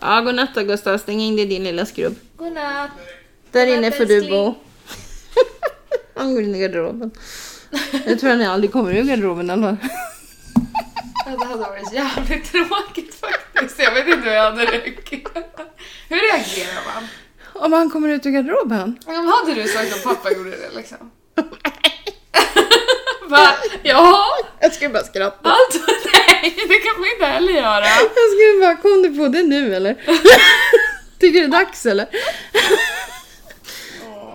Ja, godnatt då Gustav. Stäng in dig i din lilla skrubb. Godnatt. Där Godnatt, inne får du älskling. bo. Han går in i garderoben. Jag tror han aldrig kommer ur garderoben i alla fall. Ja, Det hade varit jävligt tråkigt faktiskt. Jag vet inte hur jag hade reagerat. Hur reagerar man? Om han kommer ut ur garderoben? Ja, men hade du sagt att pappa gjorde det liksom? Va? Ja? Jag skulle bara skratta. Allt? Nej, det kan man inte heller göra. Jag skulle bara, kom du på det nu eller? Tycker du det är dags eller?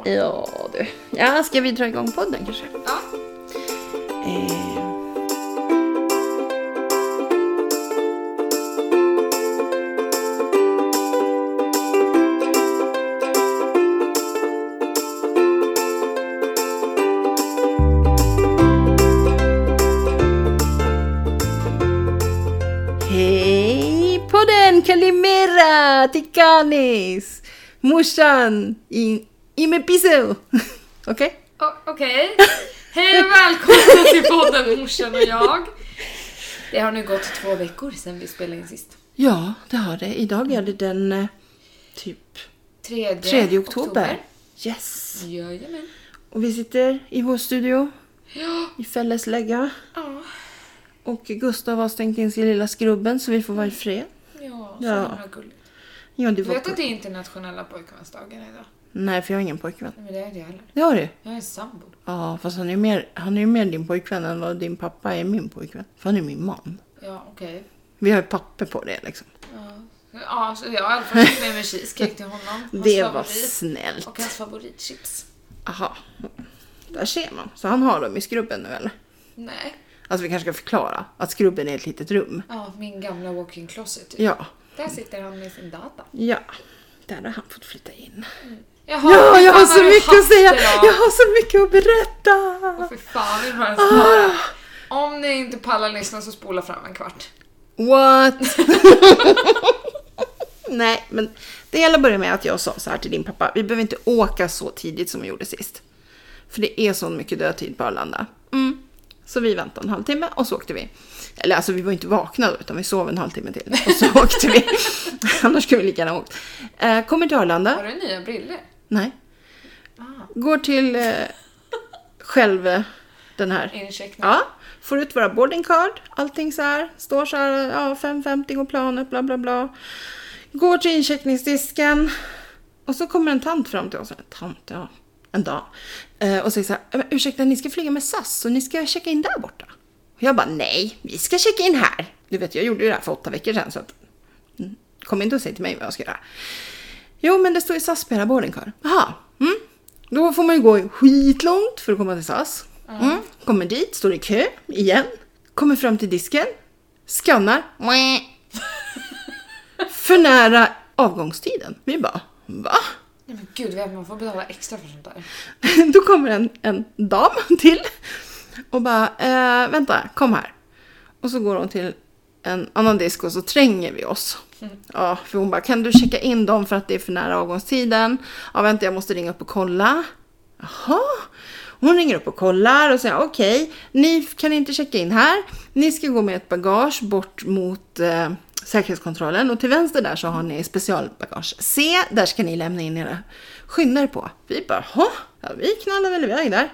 Ja du. Ja, ska vi dra igång podden kanske? Ja. Eh, Hej podden! Kalimera! Tikanis! Morsan! i- Imepiso! Okej? O- Okej. Hej och välkomna till podden Morsan och jag. Det har nu gått två veckor sedan vi spelade in sist. Ja, det har det. Idag är det den eh, typ Tredje 3 oktober. Yes! Jajamän. Och vi sitter i vår studio Ja. i Fälles lägga. Ja. Och Gustav har stängt in sig i lilla skrubben så vi får vara i fred. Ja, så Ja. himla gulligt. Ja, det Du var vet att det är internationella pojkvänsdagen idag? Nej, för jag har ingen pojkvän. Nej men det är det heller. Det har du. Jag är sambo. Ja, fast han är ju mer, han är ju mer din pojkvän än vad din pappa är min pojkvän. För han är min man. Ja, okej. Vi har ju papper på det liksom. Ja. Ja, så jag har i alla fall fått med mig cheesecake till honom. Hans Det var favorit. snällt. Och hans favoritchips. Aha. Där ser man. Så han har dem i skrubben nu eller? Nej. Alltså vi kanske ska förklara att skrubben är ett litet rum. Ja, min gamla walk-in closet typ. Ja, Där sitter han med sin data. ja. Där har han fått flytta in. Jaha, Ja, fy jag har fan, vad så du mycket att säga! hatter då. Jag Ah. har så mycket att berätta! Åh, Fy fan, vi har en sån här. Om ni inte pallar lyssna så spola fram en kvart. What? Nej, men det hela börjar med att jag sa så här till din pappa. Vi behöver inte åka så tidigt som vi gjorde sist. För det är så mycket dödtid på Arlanda. Mm. Så vi väntade en halvtimme och så åkte vi. Eller alltså vi var inte vakna då, utan vi sov en halvtimme till. Och så åkte vi. Annars skulle vi lika gärna ha åkt. Eh, kommer till Arlanda. Har du nya briller? Nej. Ah. Går till eh, själv eh, den här. Ah, Incheckning. Ja, får ut våra boarding card, allting så här, står så här, ja 5.50 går planet, bla bla bla. Går till incheckningsdisken och så kommer en tant fram till oss, en tant, ja, en dam. Eh, och säger så här, "Men ursäkta ni ska flyga med SAS och ni ska checka in där borta. Och jag bara, nej, vi ska checka in här. Du vet, jag gjorde ju det här för åtta veckor sedan så att, mm, kom inte och säg till mig vad jag ska göra. Jo, men det står ju SAS på hela boarding card. Jaha, mm. Då får man ju gå skitlångt för att komma till SAS. Mm. Kommer dit, står i kö igen. Kommer fram till disken. Skannar. Mwah. för nära avgångstiden. Vi bara, va? Nej men gud, vet man får betala extra för sånt där. Då kommer en, en dam till och bara, eh, vänta, kom här. Och så går hon till en annan disk och så tränger vi oss. Ja, för hon bara, kan du checka in dem för att det är för nära avgångstiden? Ja, vänta, jag måste ringa upp och kolla. Jaha. Hon ringer upp och kollar och säger okej, ni kan inte checka in här. Ni ska gå med ett bagage bort mot eh, säkerhetskontrollen och till vänster där så har ni specialbagage C. Där ska ni lämna in era skyndar på. Vi bara, "Jaha." ja, vi knallar väl iväg där.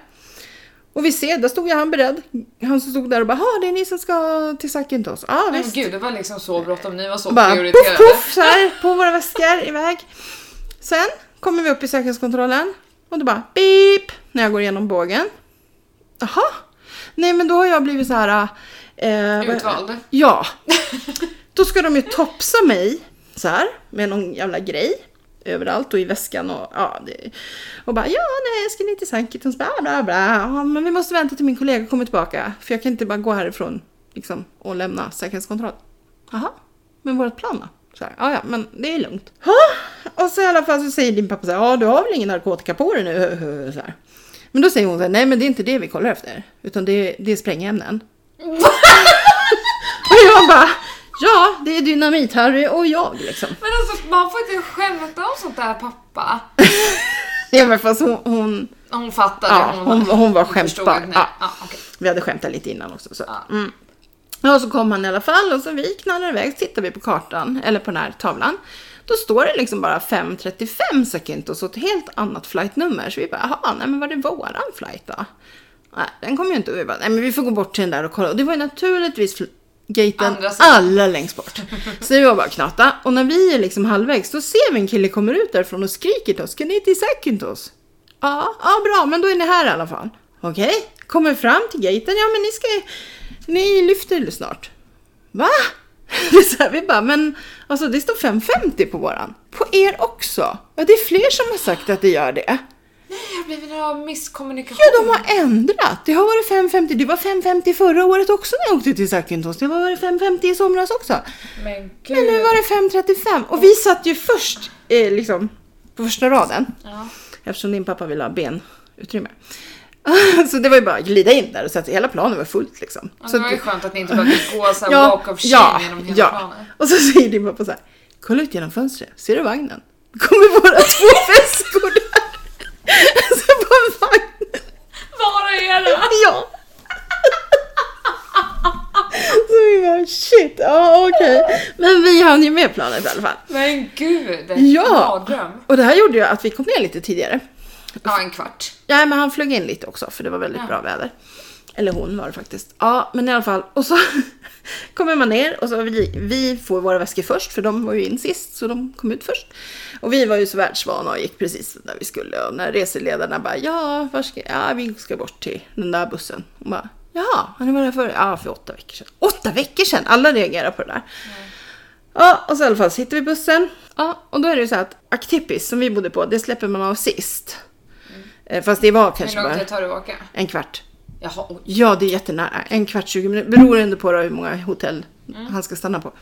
Och vi ser, där stod ju han beredd. Han som stod där och bara, "Jaha, det är ni som ska till Sacken till oss. Ja, Nej, visst. men gud, det var liksom så bråttom. Ni var så Och bara prioriterade. poff, poff så här på våra väskor iväg. Sen kommer vi upp i säkerhetskontrollen och då bara beep när jag går igenom bågen. Jaha, nej men då har jag blivit så här. Eh, vad- Utvald. Ja. Då ska de ju topsa mig så här med någon jävla grej överallt och i väskan och ja. Det, och bara ja, nej, jag ska ner till Sankitens bla bla bla. Ja, men vi måste vänta till min kollega kommer tillbaka för jag kan inte bara gå härifrån liksom och lämna säkerhetskontroll. Jaha, men vårt plan då? Så här, ja, ja, men det är lugnt. Ha? Och så i alla fall så säger din pappa så här, ja, du har väl ingen narkotika på dig nu? Så här. Men då säger hon så här, nej, men det är inte det vi kollar efter, utan det, det är sprängämnen. Och jag bara, ja det är dynamit-Harry och jag liksom. Men alltså, man får inte skämta om sånt där pappa. Ja men fast hon, hon, Hon fattade. ja, hon, hon var förstod skämtbar. att ni- Ja, Ja, okej. vi hade skämtat lite innan också. Så. Ja. Mm. Ja, och så kom han i alla fall och så vi knallar iväg, så tittar vi på kartan, eller på den här tavlan. Då står det liksom bara 5.35 Sakintos och ett helt annat flightnummer. Så vi bara, jaha, nej men var det våran flight då? Nej, den kom ju inte. Och Vi bara, nej men vi får gå bort till den där och kolla. Och det var ju naturligtvis fl- gaten Andra sidan. allra längst bort. Så vi var bara knata. Och när vi är liksom halvvägs, då ser vi en kille kommer ut därifrån och skriker till oss, kan ni till Sakintos? Ja, ja bra, men då är ni här i alla fall. Okej, kommer fram till gaten, ja men ni ska, ni lyfter snart. Va? Det är så här, vi bara, men alltså det står 550 på våran. På er också? Ja, det är fler som har sagt att det gör det. Det har blivit en misskommunikation. Ja, de har ändrat. Det har varit 550. Det var 550 förra året också när jag åkte till Sakintos. Det var 550 i somras också. Men gud. Men nu var det 535. Och vi satt ju först, eh, liksom, på första raden. Ja. Eftersom din pappa ville ha benutrymme. Så det var ju bara att glida in där och sätta hela planen var fullt liksom. Ja, Så Alltså, det var att- ju skönt att ni inte bara fick gå så här walk of shame genom hela planen. Och så säger din pappa så här, kolla ut genom fönstret, ser du vagnen? kommer våra två väskor där. Alltså på vagnen. Var är det? Ja. Så vi bara shit, ja okej. Men vi hann ju med planet i alla fall. Men gud! Ja. Mardröm. Och det här gjorde ju att vi kom ner lite tidigare. Ja, en kvart. Nej, men han flög in lite också för det var väldigt Ja. bra väder. Eller hon var det faktiskt. Ja, men i alla fall. Och så kommer man ner och så vi, vi får våra väskor först för de var ju in sist så de kom ut först. Och vi var ju så världsvana och gick precis där vi skulle och när reseledarna bara ja, var ska, ja vi ska bort till den där bussen. Och bara ja, har ni varit här för, ja, för åtta veckor sedan. Åtta veckor sedan! Alla reagerar på det där. Ja, och så i alla fall så hittar vi bussen. Ja, och då är det ju så här att Actipis som vi bodde på, det släpper man av sist. Eh, Fast det var Hur kanske lång bara tid tar det att åka? en kvart. Jaha, oj. Ja, det är jättenära. En kvart, 20 minuter. Beror ändå på då hur många hotell Mm. han ska stanna på.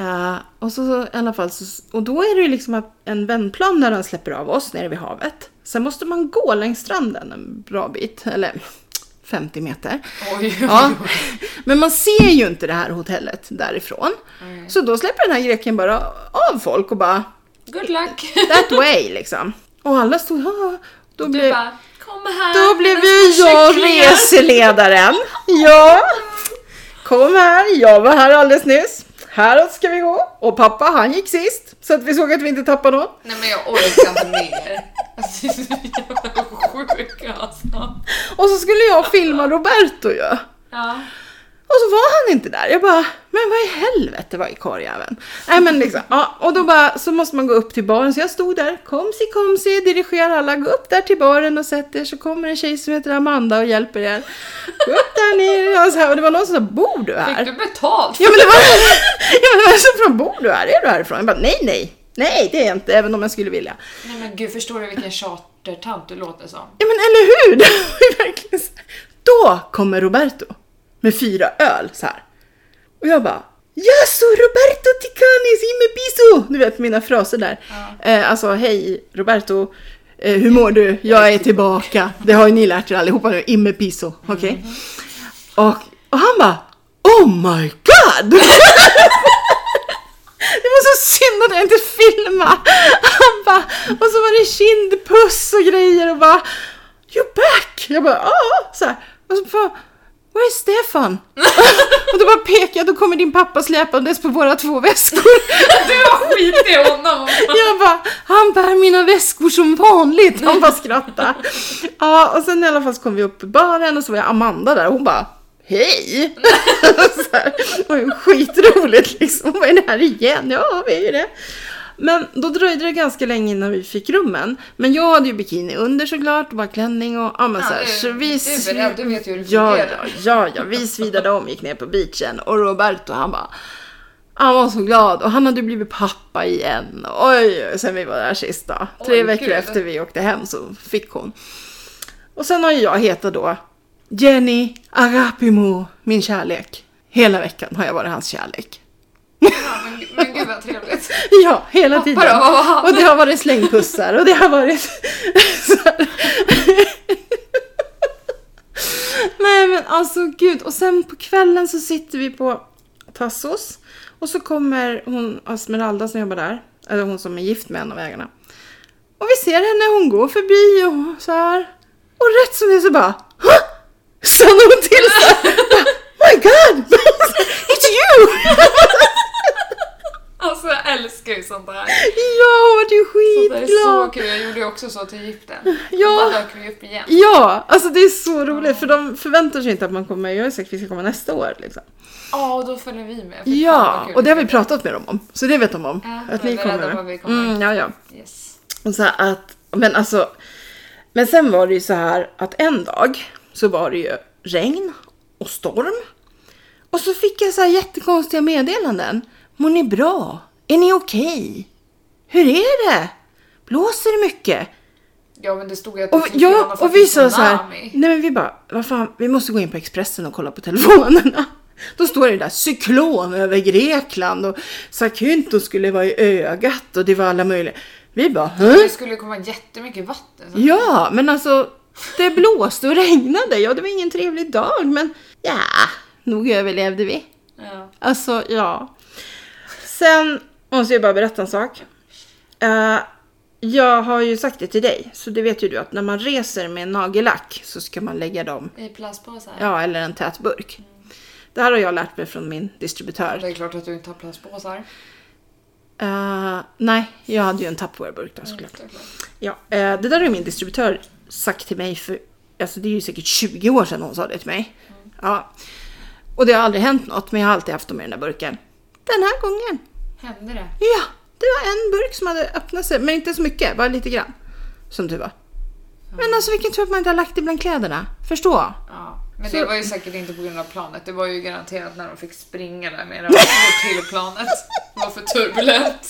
Eh, och så, så i alla fall, så, och då är det ju liksom att en vändplan där han släpper av oss nere vid havet. Sen måste man gå längs stranden en bra bit, eller 50 meter. oj. Ja. Men man ser ju inte det här hotellet därifrån. Så då släpper den här greken bara av folk och bara Good luck! that way liksom. Och alla stod "Ah." då Du blev, bara, kom här! då blev mina ju små jag kycklingar." reseledaren. Ja. Kom här, jag var här alldeles nyss. Häråt ska vi gå. Och pappa han gick sist. Så att vi såg att vi inte tappade någon. Nej men jag orkar inte mer. Alltså, det är så jävla sjuka alltså. Och så skulle jag filma Roberto ju. Ja. Och så var han inte där. Jag bara, men vad i helvete var i korgjäveln? Nej men liksom, ja, och då bara, så måste man gå upp till baren. Så jag stod där, komsi komsi, dirigerar alla, gå upp där till baren och sätt er så kommer en tjej som heter Amanda och hjälper er. Gå upp där ni, och, så här, och det var någon som sa, bor du Fick här? du betalt? Ja men det var, ja, men det var så från, bor du här? Är du härifrån? Jag bara, nej nej, nej det är jag inte, även om jag skulle vilja. Nej men gud, förstår du vilken chartertant du låter som? Ja men eller hur! Det var ju verkligen så här. Då kommer Roberto med fyra öl så här. Och jag bara Jaså Roberto Ticanis me piso! Du vet mina fraser där. Eh, alltså hej Roberto, eh, hur mår du? Jag är tillbaka. Det har ju ni lärt er allihopa nu, imme piso. Okej? Och, och han bara Oh my god! Det var så synd att jag inte filmade. Han bara, och så var det kindpuss och grejer och bara You're back! Jag bara ja, så här. Och så bara, Where is Stefan? och då bara pekade jag, då kommer din pappa släpandes på våra två väskor. Du har skit i honom! jag bara, han bär mina väskor som vanligt. Han bara skrattade. Ja, och sen i alla fall så kom vi upp i baren och så var jag Amanda där och hon bara Hej! så här, det var ju skitroligt liksom. Vad är det här igen? Ja, vi är ju det. Men då dröjde det ganska länge innan vi fick rummen. Men jag hade ju bikini under såklart, och bara klänning och ja, men Ja, så här. du- så vi du är beredd, du vet ju hur det ja, ja, fungerar. ja, ja, vi svidade om, gick ner på beachen och Roberto han bara han var så glad och han hade blivit pappa igen. Oj, sen vi var där sist då. Tre Oj, veckor gud. efter vi åkte hem så fick hon. Och sen har ju jag hetat då Jenny Agapimo, min kärlek. Hela veckan har jag varit hans kärlek. Ja, men, men gud vad trevligt. Ja, hela tiden. då, vad var han? Och det har varit slängpussar och det har varit... så här. Nej men alltså gud. Och sen på kvällen så sitter vi på Tassos. Och så kommer hon, Esmeralda som jobbar där. Eller hon som är gift med en av ägarna. Och vi ser henne, hon går förbi och så här. Och rätt som det är så bara... Hå? Stannar hon till så här. "Oh My god! Alltså, ju sånt där. Jag vart ju Sånt där Alltså, är så skitglad! kul. Jag gjorde ju också så till Egypten. Ja. Och då dök vi upp igen. Ja, alltså det är så roligt för de förväntar sig inte att man kommer. Jag har sagt att vi ska komma nästa år. Liksom. Ja, och då följer vi med. Fy fan, vad Ja, kul. och det har vi pratat med dem om. Så det vet de om. Ja, att de ni är kommer. rädda på att vi kommer. Mm, ja, ja. Yes. Och så här att, men alltså. Men sen var det ju så här att en dag så var det ju regn och storm. Och så fick jag så här jättekonstiga meddelanden. Mår ni bra? Är ni okej? Hur är det? Blåser det mycket? Ja, men det stod ju att Och, det skulle ja, vara och vi sa tsunami. så här, nej men vi bara, vad fan, vi måste gå in på Expressen och kolla på telefonerna. Då står det där cyklon över Grekland och Sakynto skulle vara i ögat och det var alla möjliga. Vi bara, Hö? Det skulle komma jättemycket vatten. Så. Ja, men alltså det blåste och regnade. Ja, det var ingen trevlig dag, men ja, nog överlevde vi. Ja. Alltså, ja. Sen måste jag bara berätta en sak. Eh, jag har ju sagt det till dig, så det vet ju du att när man reser med nagellack så ska man lägga dem, I plastpåsar. ja, eller en tät burk. Det här har jag lärt mig från min distributör. Det är klart att du inte har plastpåsar. Eh, nej, jag hade ju en Tupperware-burk där såklart. Det är klart. Ja, eh, det där har ju min distributör sagt till mig för, alltså det är ju säkert 20 år sedan hon sa det till mig. Ja. Och det har aldrig hänt något, men jag har alltid haft dem i den där burken. Den här gången, Hände det? ja, det var en burk som hade öppnat sig, men inte så mycket, bara lite grann. Som tur var. Men alltså vilken tur att man inte har lagt det bland kläderna. Förstå. Ja. Men Så- det var ju säkert inte på grund av planet. Det var ju garanterat när de fick springa där med rapporter till planet. Det var för turbulent.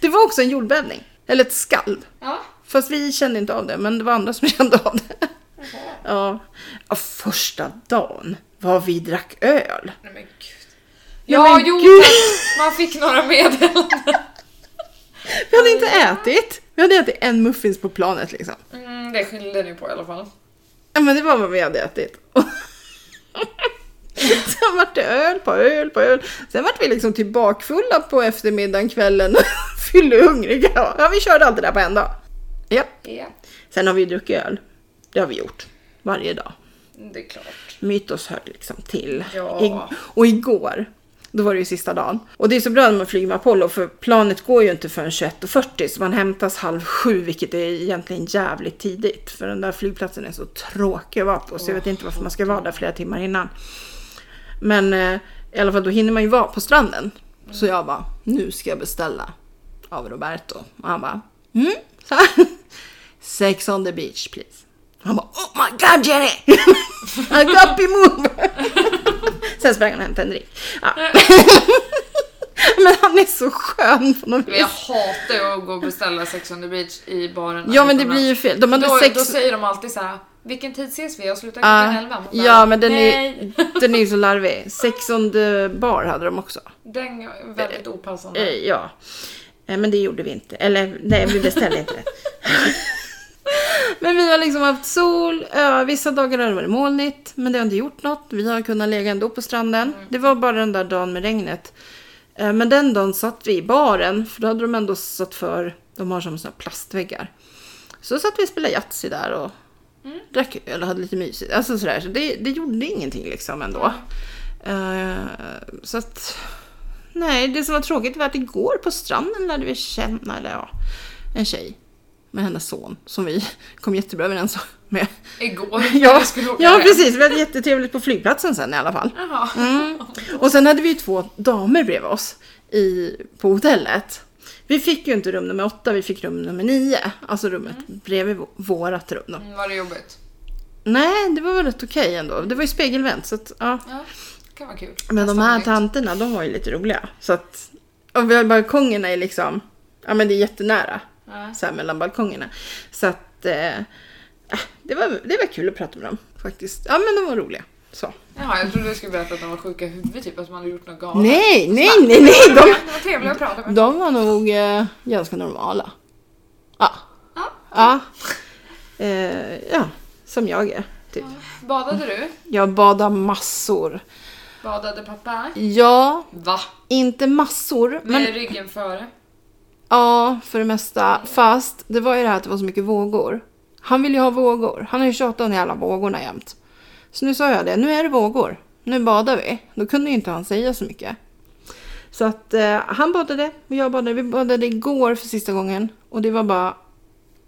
Det var också en jordbävning, eller ett skalv. Ja. Fast vi kände inte av det, men det var andra som kände av det. Ja. ja, första dagen vad vi drack öl. Nej men gud. Ja, Ja, men jo gud. tack. Man fick några meddelanden. Vi hade inte ätit. Vi hade ätit en muffins på planet liksom. Mm, det skyllde ni på i alla fall. Ja men det var vad vi hade ätit. Sen vart det öl på öl på öl. Sen vart vi liksom tillbakfulla på eftermiddagen, kvällen. Fyllehungriga. Ja vi körde allt det där på en dag. Ja. Ja, Sen har vi druckit öl. Det har vi gjort. Varje dag. det är klart. Mytos hör liksom till. Ja. I- och igår, då var det ju sista dagen. Och det är så bra när man flyger med Apollo för planet går ju inte förrän 21.40 så man hämtas halv sju vilket är egentligen jävligt tidigt. För den där flygplatsen är så tråkig att vara på så jag vet inte varför man ska vara där flera timmar innan. Men eh, i alla fall då hinner man ju vara på stranden. Så jag bara, nu ska jag beställa av Roberto. Och han bara, mm? Så här. Sex on the beach please. Han bara, oh my god Jenny! I got the move! Sen sprang han och hämtade en drink. Ja. Men han är så skön på något Men jag vis. hatar ju att gå och beställa Sex on the beach i baren. Ja men det utomlands. blir ju fel. De hade Då, sex... då säger de alltid så här. Vilken tid ses vi? Jag slutar Ja. klockan 11. Man bara, ja men den är, Nej, den är ju så larvig. Sex on the bar hade de också. den är väldigt opassande. Eh, ja. Eh, Men det gjorde vi inte. Eller nej, vi beställde inte. men vi har liksom haft sol. eh, Vissa dagar har det varit molnigt. Men det har inte gjort något. Vi har kunnat lägga ändå på stranden. Det var bara den där dagen med regnet. Eh, Men den dagen satt vi i baren. För då hade de ändå satt för. De har som såna plastväggar. Så satt vi och spelade Yatzy där och drack öl och hade lite mysigt. Alltså sådär. Så det, det gjorde ingenting liksom ändå. Eh, så att... Nej, det som var tråkigt var att igår på stranden lärde vi känna eller ja, en tjej med hennes son som vi kom jättebra överens med. Igår. Ja, jag skulle åka ja hem. precis, Mm. vi hade jättetrevligt på flygplatsen sen i alla fall. Jaha. Och sen hade vi ju två damer bredvid oss i, på hotellet. Vi fick ju inte rum nummer åtta, vi fick rum nummer nio. Alltså rummet bredvid vå- vårat rum då. Mm, var det jobbigt? Nej, det var väl rätt okej ändå. Det var ju spegelvänt så att, ja. Ja, det kan vara kul. Men de Testa här nytt. tanterna, de var ju lite roliga. Så att, och vi har- balkongerna är liksom, ja men det är jättenära. Ja. Så här mellan balkongerna. Så att, eh, äh, det, var, det var kul att prata med dem faktiskt. Ja men de var roliga. Så. Jaha, jag trodde du skulle berätta att de var sjuka i huvudet, typ att man hade gjort något galet. Nej, nej, nej, nej! De, Det var trevligt att prata med. de var nog eh, ganska normala. Ja. Ja. Ja. Eh, ja, som jag är. Typ. Badade du? Jag badar massor. Badade pappa? Ja, Va? inte massor. Med Men ryggen före? Ja, för det mesta. Fast det var ju det här att det var så mycket vågor. Han vill ju ha vågor. Han har ju tjatat om de jävla vågorna jämt. Så nu sa jag det, nu är det vågor. Nu badar vi. Då kunde ju inte han säga så mycket. Så att eh, han badade och jag badade. Vi badade igår för sista gången och det var bara...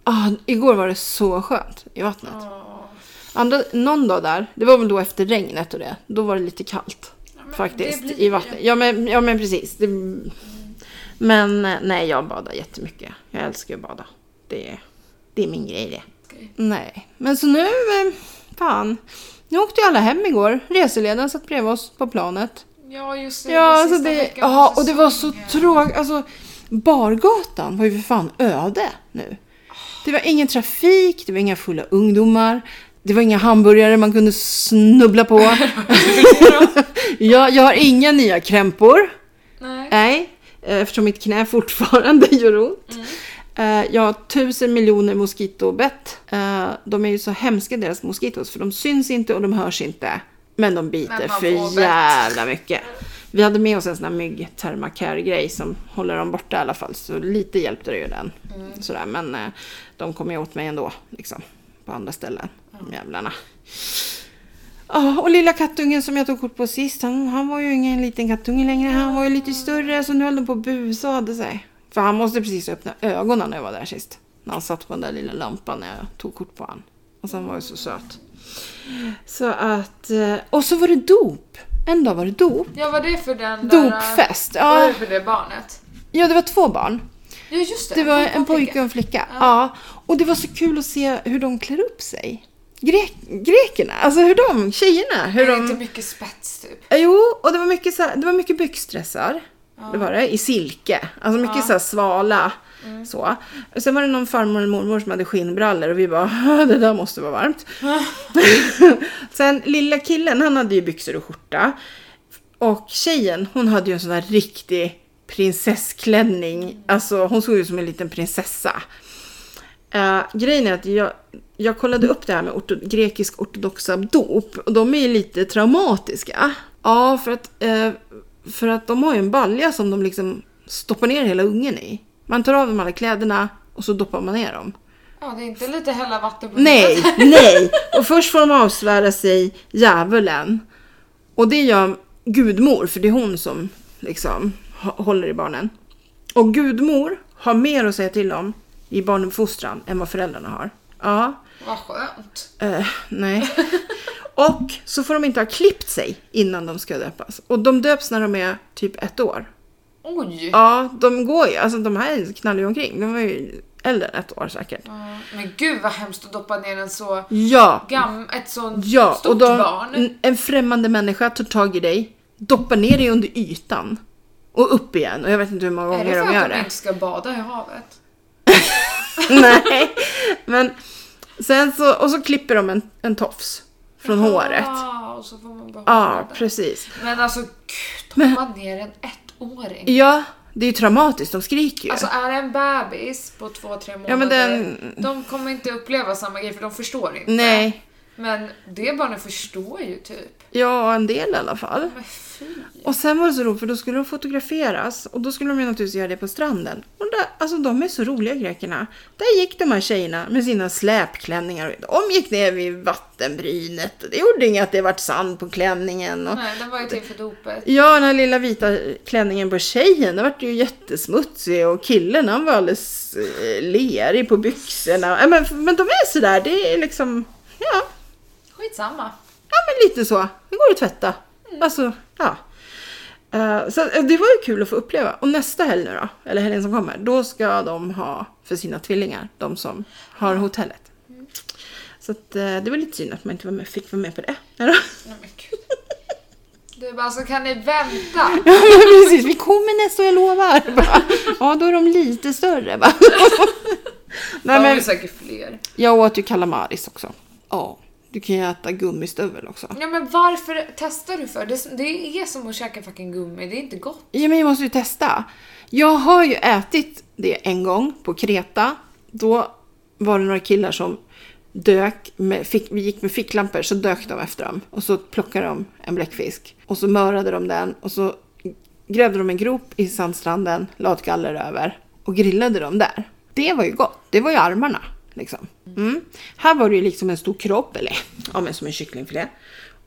Ah, igår var det så skönt i vattnet. Ja. Andra, någon dag där, det var väl då efter regnet och det, då var det lite kallt. men faktiskt, det blir i ju- vattnet. Ja men, ja men precis. Det, men eh, nej, jag badar jättemycket. Jag älskar att bada. Det, det är min grej det. Okej. Nej, men så nu, eh, fan. Nu åkte ju alla hem igår. Reseledaren satt bredvid oss på planet. Ja, just det. Ja, Det var alltså sista det, veckan på ja och det var så säsongen. tråkigt. Alltså, bargatan var ju för fan öde nu. Det var ingen trafik, det var inga fulla ungdomar, det var inga hamburgare man kunde snubbla på. jag, jag har inga nya krämpor. Nej. Nej, eh, eftersom mitt knä fortfarande gör ont. Mm. Eh, Jag har tusen miljoner moskitobett. Eh, De är ju så hemska deras moskitos för de syns inte och de hörs inte. Men de biter Men man får för bett. jävla mycket. Vi hade med oss en sån här mygg grej som håller dem borta i alla fall. Så lite hjälpte det ju den. Mm. Sådär, men eh, de kom ju åt mig ändå. Liksom, på andra ställen. Mm. De jävlarna. Ja, och lilla kattungen som jag tog kort på sist, han, han var ju ingen liten kattunge längre. Han var ju lite större, så nu höll de på att busa och hade sig. För han måste precis öppna ögonen när jag var där sist. När han satt på den där lilla lampan när jag tog kort på han. Och sen var ju så söt. Så att... eh, Och så var det dop! En dag var det dop. Ja, vad det för den där... Dopfest! Vad var Ja, det för det barnet? ja, det var två barn. Ja, just det. Det var en pojke. pojke och en flicka. Ja. Och det var så kul att se hur de klär upp sig. Grek, grekerna, alltså hur de, tjejerna, hur Det de... är inte mycket spets typ. Eh, Jo, och det var mycket, så här, det var mycket byxdressar. Det var det, i silke. Alltså mycket så här svala. Så. Och sen var det någon farmor och mormor som hade skinnbrallor och vi bara, "Ah, det där måste vara varmt. sen lilla killen, han hade ju byxor och skjorta. Och tjejen, hon hade ju en sån där riktig prinsessklänning. Alltså hon såg ut som en liten prinsessa. Eh, grejen är att jag, jag kollade upp det här med orto, grekisk ortodoxa dop och de är ju lite traumatiska. Ja, för att, eh, för att de har ju en balja som de liksom stoppar ner hela ungen i. Man tar av dem alla kläderna och så doppar man ner dem. Ja, det är inte lite hälla vatten på Nej, nej! Och först får de avsvära sig djävulen. Och det gör gudmor, för det är hon som liksom hå- håller i barnen. Och gudmor har mer att säga till om i barnuppfostran än vad föräldrarna har. Ja, Vad skönt. eh, nej. Och så får de inte ha klippt sig innan de ska döpas. Och de döps när de är typ ett år. Oj! Ja, de går ju. Alltså de här knallar ju omkring. De var ju äldre än ett år säkert. Ja, Men gud vad hemskt att doppa ner en så Ja, gam... ett sånt Ja, stort och de, barn. n- en främmande människa tar tag i dig, doppar ner dig under ytan och upp igen. Och jag vet inte hur många Är det gånger för de gör att de det. inte ska bada i havet? Nej, men sen så, och så klipper de en, en tofs från håret. Ja, och så får man behålla Ja, den. precis. Men alltså gud, doppa ner en ettåring. Ja, det är ju traumatiskt, de skriker ju. Alltså är det en bebis på två, tre månader, Ja, men den- de kommer inte uppleva samma grej för de förstår inte. Nej, Men det barnet förstår ju typ. ja en del i alla fall. Men fy. Och sen var det så roligt för då skulle de fotograferas och då skulle de ju naturligtvis göra det på stranden. Och där, alltså de är så roliga grekerna. Där gick de här tjejerna med sina släpklänningar. och De gick ner vid vattenbrynet och det gjorde inget att det vart sand på klänningen. Och... Nej, den var ju till för dopet. Ja, den här lilla vita klänningen på tjejen, den vart ju jättesmutsig och killen han var alldeles eh, lerig på byxorna. Ja, Men, men de är sådär, det är liksom, ja, Skitsamma. Ja men lite så. Det går att tvätta. Alltså, ja. Eh, så eh, det var ju kul att få uppleva. Och nästa helg nu då, eller helgen som kommer, då ska de ha för sina tvillingar, de som har hotellet. Så att, eh, det var lite synd att man inte var med, fick vara med på det. Ja, då. Nej men gud. Du bara, alltså kan ni vänta? Ja, men precis, Mm. vi kommer nästa år, jag lovar. Bara, Ja, då är de lite större va. Nej, Nej, men... De är men ju säkert fler. jag åt ju kalamaris också. Ja, du kan ju äta gummistövel också. Ja men varför testar du för? Det, det är som att käka fucking gummi, det är inte gott. Ja, men jag måste ju testa. Jag har ju ätit det en gång på Kreta. Då var det några killar som dök med, fick, vi gick med ficklampor, så dök de efter dem. Och så plockade de en bläckfisk. Och så mörade de den och så grävde de en grop i sandstranden, la ett galler över och grillade dem där. Det var ju gott. Det var ju armarna. Liksom. Mm. Här var det ju liksom en stor kropp, eller ja, men som en kycklingfilé.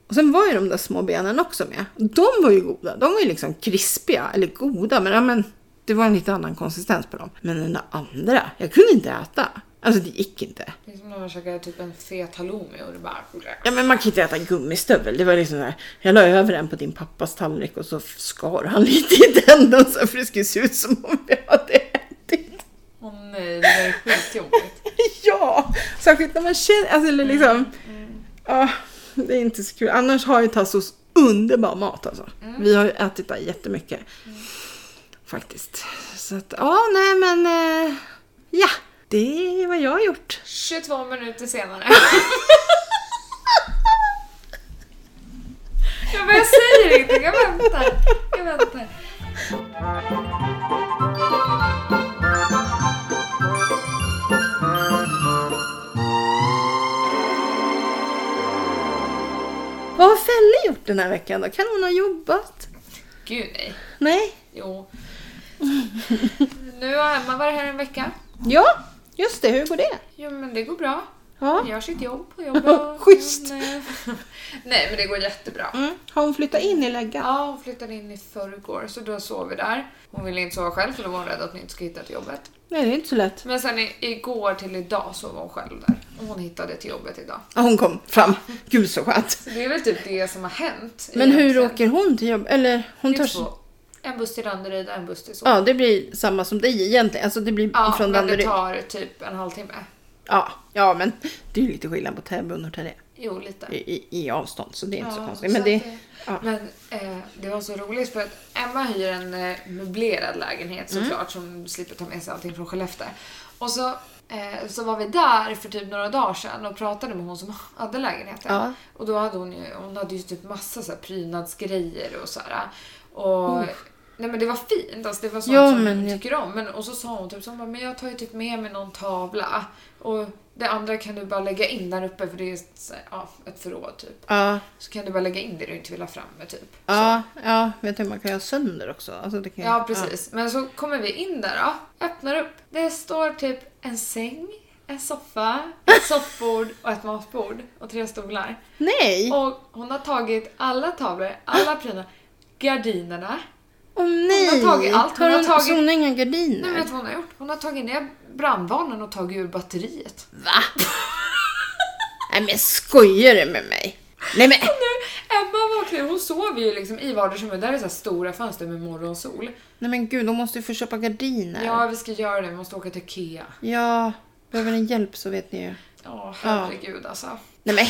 Och sen var ju de där små benen också med. De var ju goda. De var ju liksom krispiga. Eller goda, men, ja, men det var en lite annan konsistens på dem. Men den där andra, jag kunde inte äta. Alltså det gick inte. Det är som när man käkar typ en fet halloumi och det bara... Ja men man kan inte äta gummistövel. Det var liksom där, jag la över den på din pappas tallrik och så skar han lite i den så för det skulle se ut som om jag hade ätit. Åh nej, det där är skitjobbigt. Ja, särskilt när man känner, alltså eller liksom, Mm, ja, det är inte så kul. Annars har ju Tassos underbar mat alltså. Mm. Vi har ju ätit där jättemycket. Faktiskt. Så att, ja, nej men, eh, ja, det är vad jag har gjort. 22 minuter senare. jag bara, jag säger ingenting, jag väntar. Jag väntar. Vad har Felle gjort den här veckan då? Kan hon ha jobbat? Gud nej. Nej? Jo. Nu har Emma varit här en vecka. Ja, just det. Hur går det? Jo men det går bra. Ja. Hon gör sitt jobb och jobbar. Schysst. Hon, eh, nej men det går jättebra. Mm. Har hon flyttat in i läggan? Ja, hon flyttade in i förrgår så då sov vi där. Hon ville inte sova själv för då var hon rädd att hon inte skulle hitta ett jobbet. Nej, det är inte så lätt. Men sen i, igår till idag sov hon själv där och hon hittade till jobbet idag. Ja, hon kom fram. Gud så skönt. Så det är väl typ det som har hänt. Men hur egentligen. åker hon till jobbet? Eller hon Det är törs... två. En buss till Danderyd och en buss till Solna. Ja, det blir samma som dig egentligen. Alltså det blir Ja, från men det Danderyd. tar typ en halvtimme. Ja, ja, men det är ju lite skillnad på Täby och Norrtälje Jo, lite. i, i, i avstånd, så det är inte så Ja, konstigt. Men att det... ja. men eh, det var så roligt för att Emma hyr en eh, möblerad lägenhet Mm. såklart som slipper ta med sig allting från Skellefteå. Och så, eh, så var vi där för typ några dagar sedan och pratade med hon som hade lägenheten. Ja. Och då hade hon ju, hon hade ju typ massa så här prydnadsgrejer och så här. Och, Nej men det var fint, alltså det var sånt Ja, som men hon jag- tycker om. Men, och så sa hon typ så hon bara, men jag tar ju typ med mig någon tavla. Och det andra kan du bara lägga in där uppe för det är så här, ja, ett förråd typ. Ja, Så kan du bara lägga in det du inte vill ha framme typ. ja, ja, vet du hur man kan göra sönder också? Alltså det kan ju- Ja precis. Men så kommer vi in där då. Öppnar upp. Det står typ en säng, en soffa, ett soffbord och ett matbord. Och tre stolar. Ja. Nej! Åh Och hon har tagit alla tavlor, alla prylar, gardinerna. nej! har tagit allt. Hon Har har hon, tagit- Så hon har inga Nej, gardiner? vet du vad hon har gjort? Hon har tagit ner brandvarnaren och tagit ur batteriet. Va? Nej men skojar du med mig? Nej men! Nu, Emma vaknar, hon sover ju liksom i vardagsrummet. Där är så här stora fönster med morgonsol. Nej men gud, de måste ju få köpa gardiner. Ja, vi ska göra det. Vi måste åka till Ikea. Ja, behöver ni hjälp så vet ni ju. Ja, herregud alltså. Nej men.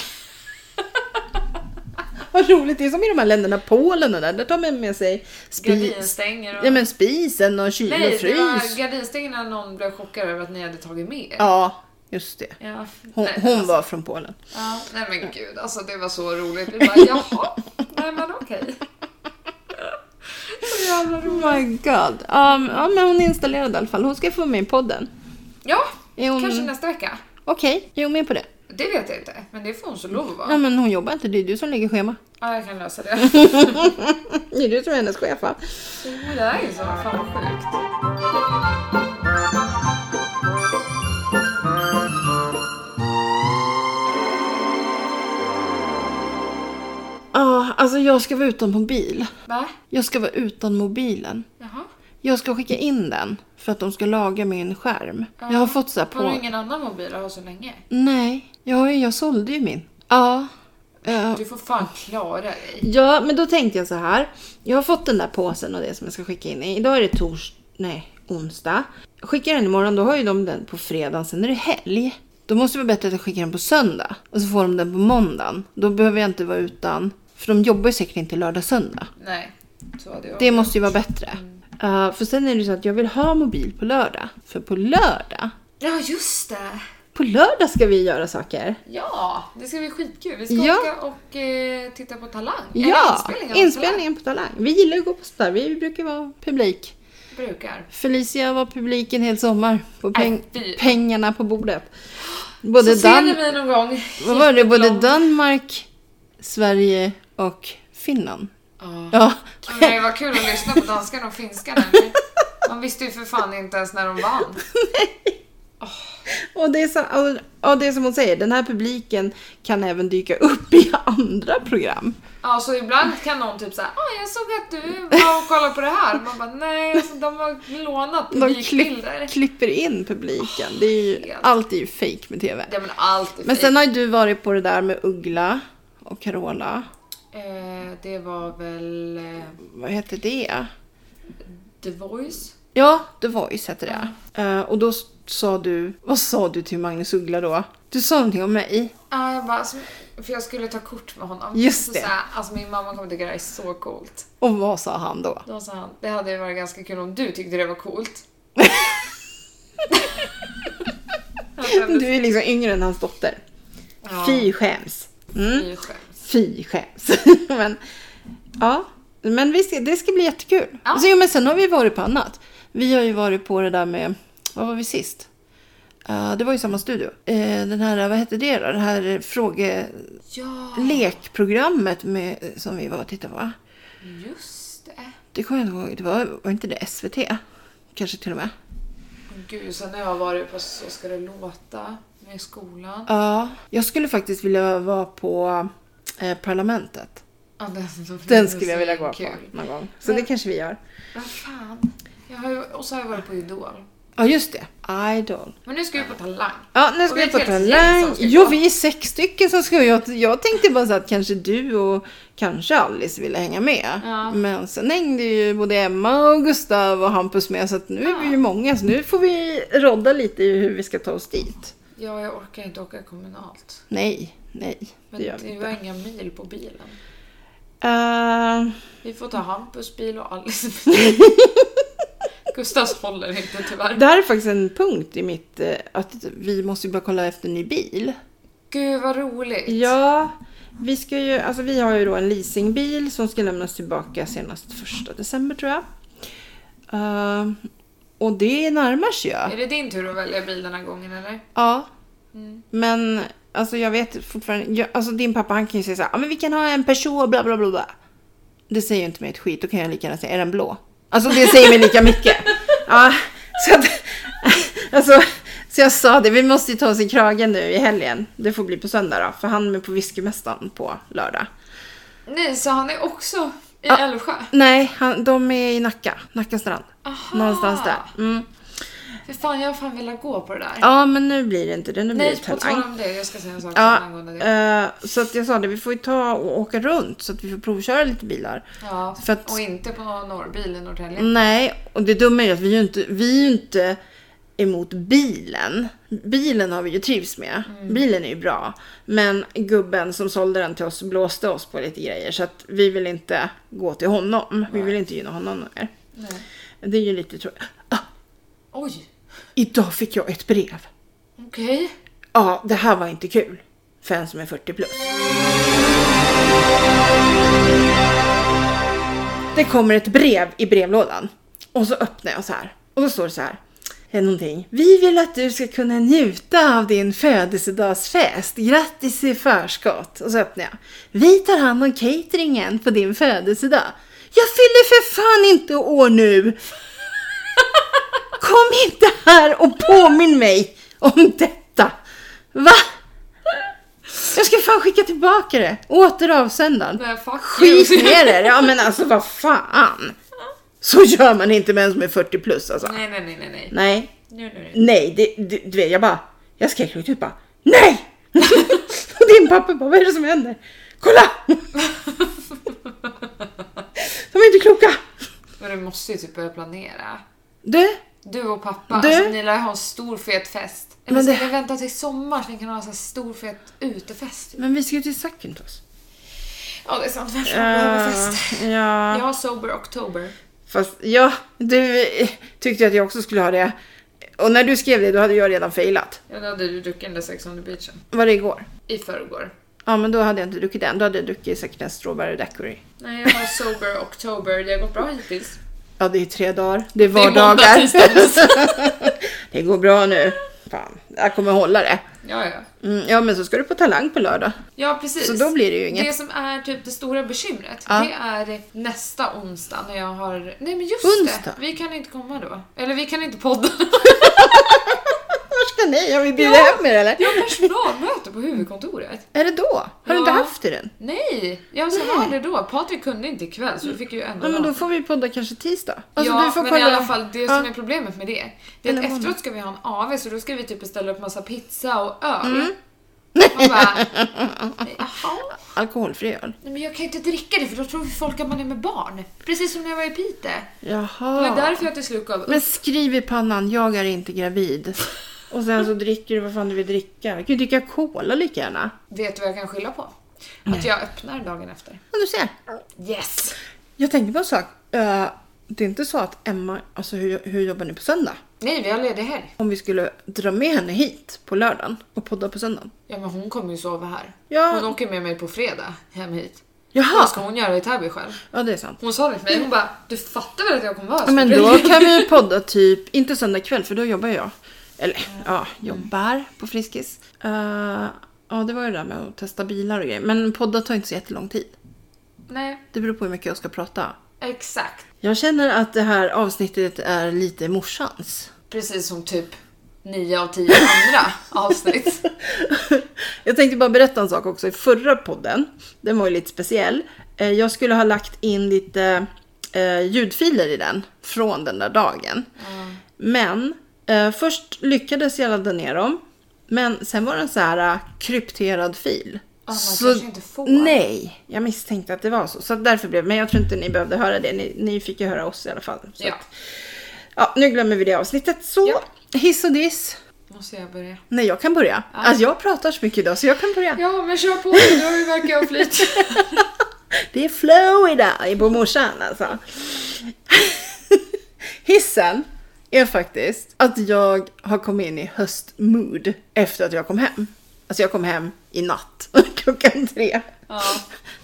Vad roligt, det är som i de här länderna, Polen och där, där tar man med sig spis. Gardinstänger och... Ja men spisen och kyl Nej, och det var frys. gardinstängerna någon blev chockad över att ni hade tagit med er. Ja, just det. Ja, Hon, nej, hon alltså, var från Polen. ja, nej men gud, alltså det var så roligt. Vi bara, jaha, nej men okej. Så jävla roligt. Oh my god. Um, ja men hon är installerad i alla fall. Hon ska få med i podden. Ja, Är hon- kanske nästa vecka. Okej, är hon med på det? Det vet jag inte, men det får hon så lov att Ja vara. men hon jobbar inte, det är du som lägger schema. Ja, jag kan lösa det. Det är du som är hennes chef va? Det där är ju så, fan vad sjukt. Ja, alltså jag ska vara utan mobil. Va? Jag ska vara utan mobilen. Jaha? Jag ska skicka in den för att de ska laga min skärm. Jag har fått så här på... Har du ingen annan mobil att ha så länge? Nej, jag, har ju- jag sålde ju min. Ja. eh, Du får fan klara dig. ja, men då tänkte jag så här. Jag har fått den där påsen och det som jag ska skicka in. i. Idag är det tors... Nej, onsdag. Skickar jag den imorgon, då har ju de den på fredag. Sen är det helg. Då måste det vara bättre att jag skickar den på söndag. Och så får de den på måndagen. Då behöver jag inte vara utan. För de jobbar ju säkert inte lördag-söndag. Nej, så hade jag. Det måste ju vara bättre. Mm. Eh, för sen är det ju så att jag vill ha mobil på lördag. För på lördag, Ja, just det. på lördag ska vi göra saker. Ja, det ska bli skitkul. Vi ska Ja. åka och eh, titta på Talang. Eller alltså, Ja, inspelningen av inspelningen på Talang. Vi gillar ju att gå på sådär. Vi brukar vara publik. Talang. Brukar. Felicia var publik en hel sommar. På peng- Äh, fy. pengarna på bordet. Så Både ser ni Dan- mig någon gång. vad var det? Både Jättelång- Danmark, Sverige och Finland. Ja. Ja. Men Det var kul att lyssna på danskarna och finskarna. Man visste ju för fan inte ens när de vann. Och det, är så, och, och det är som hon säger, den här publiken kan även dyka upp i andra program. Ja, så ibland kan någon typ såhär, ah, jag såg att du var och kollade på det här. Man bara, nej, alltså, de har lånat De klipp, publikbilder. klipper in publiken. Det är ju, helt. allt är ju fake med TV. Ja, men allt är Men men sen har ju du varit på det där med Uggla och Carola. eh, Det var väl eh, Vad heter det? The Voice? Ja, The Voice heter det. Eh, och då s- sa du, vad sa du till Magnus Uggla då? Du sa någonting om mig. Ja, jag bara, alltså, för jag skulle ta kort med honom. Just så det. Såhär, alltså min mamma kommer tycka det här är så coolt. Och vad sa han då? Då sa han, det hade ju varit ganska kul om du tyckte det var coolt. Jag kände, Du är liksom yngre än hans dotter. ja, Fy skäms. Mm. fy skämt. Fy skäms. men, ja. men visst, det ska bli jättekul. Ja. Alltså, jo, men sen har vi varit på annat. Vi har ju varit på det där med, vad var vi sist? Eh, det var ju samma studio. Eh, den här, vad hette det då? Det här frågelekprogrammet Ja, med, som vi var och tittade på. just det. Det kommer jag inte ihåg. Det var, var inte det SVT? Kanske till och med. Gud, sen har jag varit på Så ska det låta med skolan. Ja. Jag skulle faktiskt vilja vara på eh, Parlamentet. Ja, den, Den skulle jag vilja gå på Kul. någon gång. Så det kanske vi gör. Vad fan. Jag har ju, och så har jag varit på Idol. Ja, just det. Idol. Men nu ska vi på Talang. Ja, nu ska Och vi vi är på ett helt gäng talang. som ska Jo, gå. vi är sex stycken som ska jag, jag tänkte bara så att kanske du och kanske Alice ville hänga med. Ja. Men sen hängde ju både Emma och Gustav och Hampus med så att nu är vi ju många så nu får vi rodda lite i hur vi ska ta oss dit. Ja, jag orkar inte åka kommunalt. Nej, nej, Men det gör vi det inte. var inga mil på bilen. Eh, Vi får ta Hampus bil och Alice bil. Gustavs håller inte tyvärr. det här är faktiskt en punkt i mitt, eh, att vi måste ju bara kolla efter en ny bil. Gud vad roligt. Ja, vi, ska ju, alltså vi har ju då en leasingbil som ska lämnas tillbaka senast första december tror jag. Eh, och det närmar sig Är ju. det din tur att välja bil den här gången eller? Ja, Mm. men alltså jag vet fortfarande. Jag, alltså din pappa han kan ju säga så här, "Ja, men vi kan ha en person, bla bla bla. bla." Det säger ju inte mig ett skit, då kan jag lika gärna säga, är den blå? Alltså det säger mig lika mycket. Ja, så att, alltså, så jag sa det, vi måste ju ta oss i kragen nu i helgen. Det får bli på söndag då, för han är på whiskymässan på lördag. Nej, så han är också i Ja. Älvsjö? Nej, han, de är i Nacka. Nacka strand. Aha. Någonstans där. Mm. För fan, jag har fan velat gå på det där. Ja, men nu blir det inte det. Nu blir Nej, det på tal talang. om det, jag ska säga en sak Ja, angående det. eh, så att jag sa det, vi får ju ta och åka runt så att vi får provköra lite bilar. Ja, för att- Mm. och inte på norrbil i Norrtälje. Nej, och det dumma är ju att vi är ju inte, vi är ju inte emot bilen. Bilen har vi ju trivs med. Bilen är ju bra. Men gubben som sålde den till oss blåste oss på lite grejer så att vi vill inte gå till honom. Vi vill inte gynna honom mer. Nej. Det är ju lite tråkigt. Ah, Oj, idag fick jag ett brev. okej. Ja, det här var inte kul. För en som är 40 plus. Det kommer ett brev i brevlådan. Och så öppnar jag så här. Och då står det så här. eh, Någonting. Vi vill att du ska kunna njuta av din födelsedagsfest. Grattis i förskott. Och så öppnar jag. Vi tar hand om cateringen på din födelsedag. Jag fyller för fan inte år nu! Kom inte här och påminn mig om detta! Va? Jag ska fan skicka tillbaka det. Åter avsändaren. Men fuck Skit you. ner er! Ja men alltså vad fan! Så gör man inte med en som är 40 plus alltså. Nej, nej, nej, nej, nej. Nej, Nu, nu, nu. nej, det, det, du vet jag bara, jag skrek ut typ bara NEJ! Och din pappa bara, vad är det som händer? Kolla! De är inte kloka! Men du måste ju typ börja planera. Du, Du och pappa, Du? Alltså, ni lär ju ha en stor fet fest. Eller Men ska det- ni vänta till sommar så ni kan ha en sån här stor fet utefest? men vi ska ju till Sakintos. Ja, det är sant. Vem fan behöver fest? Eh, ja. Jag har sober oktober. Fast ja, du eh, tyckte ju att jag också skulle ha det. Och när du skrev det, då hade jag redan failat. Ja, då hade du druckit den där Sex on the beachen. Var det igår? I förrgår. Ja, men då hade jag inte druckit den. Då hade jag druckit säkert en strawberry daiquiri. Nej, jag har sober oktober. Det har gått bra hittills. Ja, det är tre dagar. Det är är måndag, vardagar. tisdag, det går bra nu. Fan, jag kommer hålla det. Ja, ja. Mm, ja, men så ska du på Talang på lördag. Ja, precis. Så då blir det ju inget. Det som är typ det stora bekymret, Ja. det är nästa onsdag när jag har... Nej men just Onsdag? det! Vi kan inte komma då. Eller vi kan inte podda. Var ska säger nej om vi bjuder hem er eller? Jag har personalmöte på huvudkontoret. Är det då? Har du inte Ja. haft det än? Nej, jag sa vad är det då? Patrik kunde inte ikväll så vi fick ju Ja, ändå men vara- då alltså, får vi podda kanske tisdag. ja, men i alla fall det Ja. som är problemet med det. Det är Eller att måndag. efteråt ska vi ha en AV så då ska vi typ beställa upp massa pizza och öl. Mm. Man bara, jaha? Alkoholfri öl. Nej, men jag kan ju inte dricka det för då tror folk att man är med barn. Precis som när jag var i Piteå. Det var Jaha. därför jag till slut gav upp. Men skriv i pannan, jag är inte gravid. Och sen så dricker du vad fan du vill dricka. Du kan ju dricka cola lika gärna. Vet du vad jag kan skylla på? Att jag öppnar dagen efter. Ja, du ser. Yes! Jag tänkte på en sak. Eh, det är inte så att Emma, alltså hur, hur jobbar ni på söndag? Nej, vi har ledig helg. Om vi skulle dra med henne hit på lördagen och podda på söndagen. Ja, men hon kommer ju sova här. Ja. Hon åker med mig på fredag hem hit. Jaha! Vad ska hon göra i Täby själv? Ja, det är sant. Hon sa det till mig, hon bara du fattar väl att jag kommer vara här? Ja, så men blir då det- kan vi ju podda typ, inte söndag kväll för då jobbar jag. Eller ja, jobbar på Friskis. Eh, ja, det var ju det där med att testa bilar och grejer. Men podda tar inte så jättelång tid. Nej, Det beror på hur mycket jag ska prata. exakt. Jag känner att det här avsnittet är lite morsans. Precis som typ 9 av 10 andra avsnitt. jag tänkte bara berätta en sak också. I förra podden, den var ju lite speciell. Eh, Jag skulle ha lagt in lite eh, ljudfiler i den från den där dagen. Men eh, först lyckades jag ladda ner dem. Men sen var den så här eh, krypterad fil. Ja, man kanske inte får. Nej, jag misstänkte att det var så. Så att därför blev Men jag tror inte ni behövde höra det. Ni, ni fick ju höra oss i alla fall. Så Ja. att, ja, nu glömmer vi det avsnittet. Så, Ja. hiss och diss. Måste jag börja? Nej, jag kan börja. Alltså jag pratar så mycket idag så jag kan börja. Ja, men kör på du har ju verkar ha flyt. Det är flow idag på morsan alltså. Hissen är faktiskt att jag har kommit in i höstmood efter att jag kom hem. Alltså jag kom hem i natt klockan tre. Ja.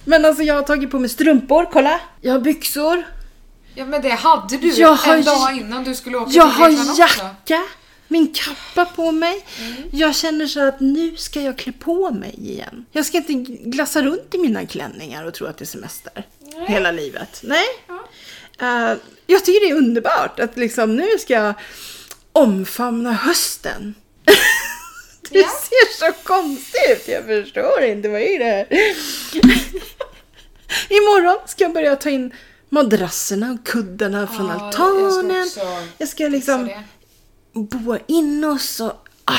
Men alltså jag har tagit på mig strumpor, kolla. Jag har byxor. ja, men det hade du Jag har en ju- dag innan du skulle åka Jag till Grekland har också. Mm. jacka, min kappa på mig. Jag känner så att nu ska jag klä på mig igen. Jag ska inte glassa runt i mina klänningar och tro att det är semester Nej. hela livet. Nej. Ja. Eh, jag tycker det är underbart att liksom nu ska jag omfamna hösten. du Ja. ser så konstig ut, jag förstår inte. Vad är det här? Imorgon ska jag börja ta in madrasserna och kuddarna från Ja, jag ska altanen. också Jag ska liksom fixa boa in oss och... Ah,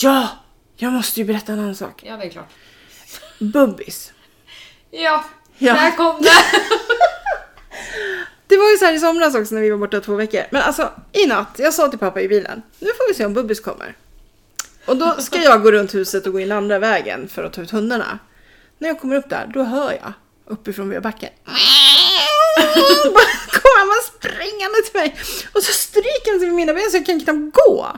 ja! Jag måste ju berätta en annan sak. Ja, det är klart. Bubbis. Ja, Ja. där kom det. Det var ju så här i somras också när vi var borta två veckor. Men alltså i natt, jag sa till pappa i bilen, nu får vi se om Bubbis kommer. Och då ska jag gå runt huset och gå in andra vägen för att ta ut hundarna. När jag kommer upp där, då hör jag uppifrån Veabacken. Bara kommer han bara springande till mig. Och så stryker han sig vid mina ben så jag kan knappt gå.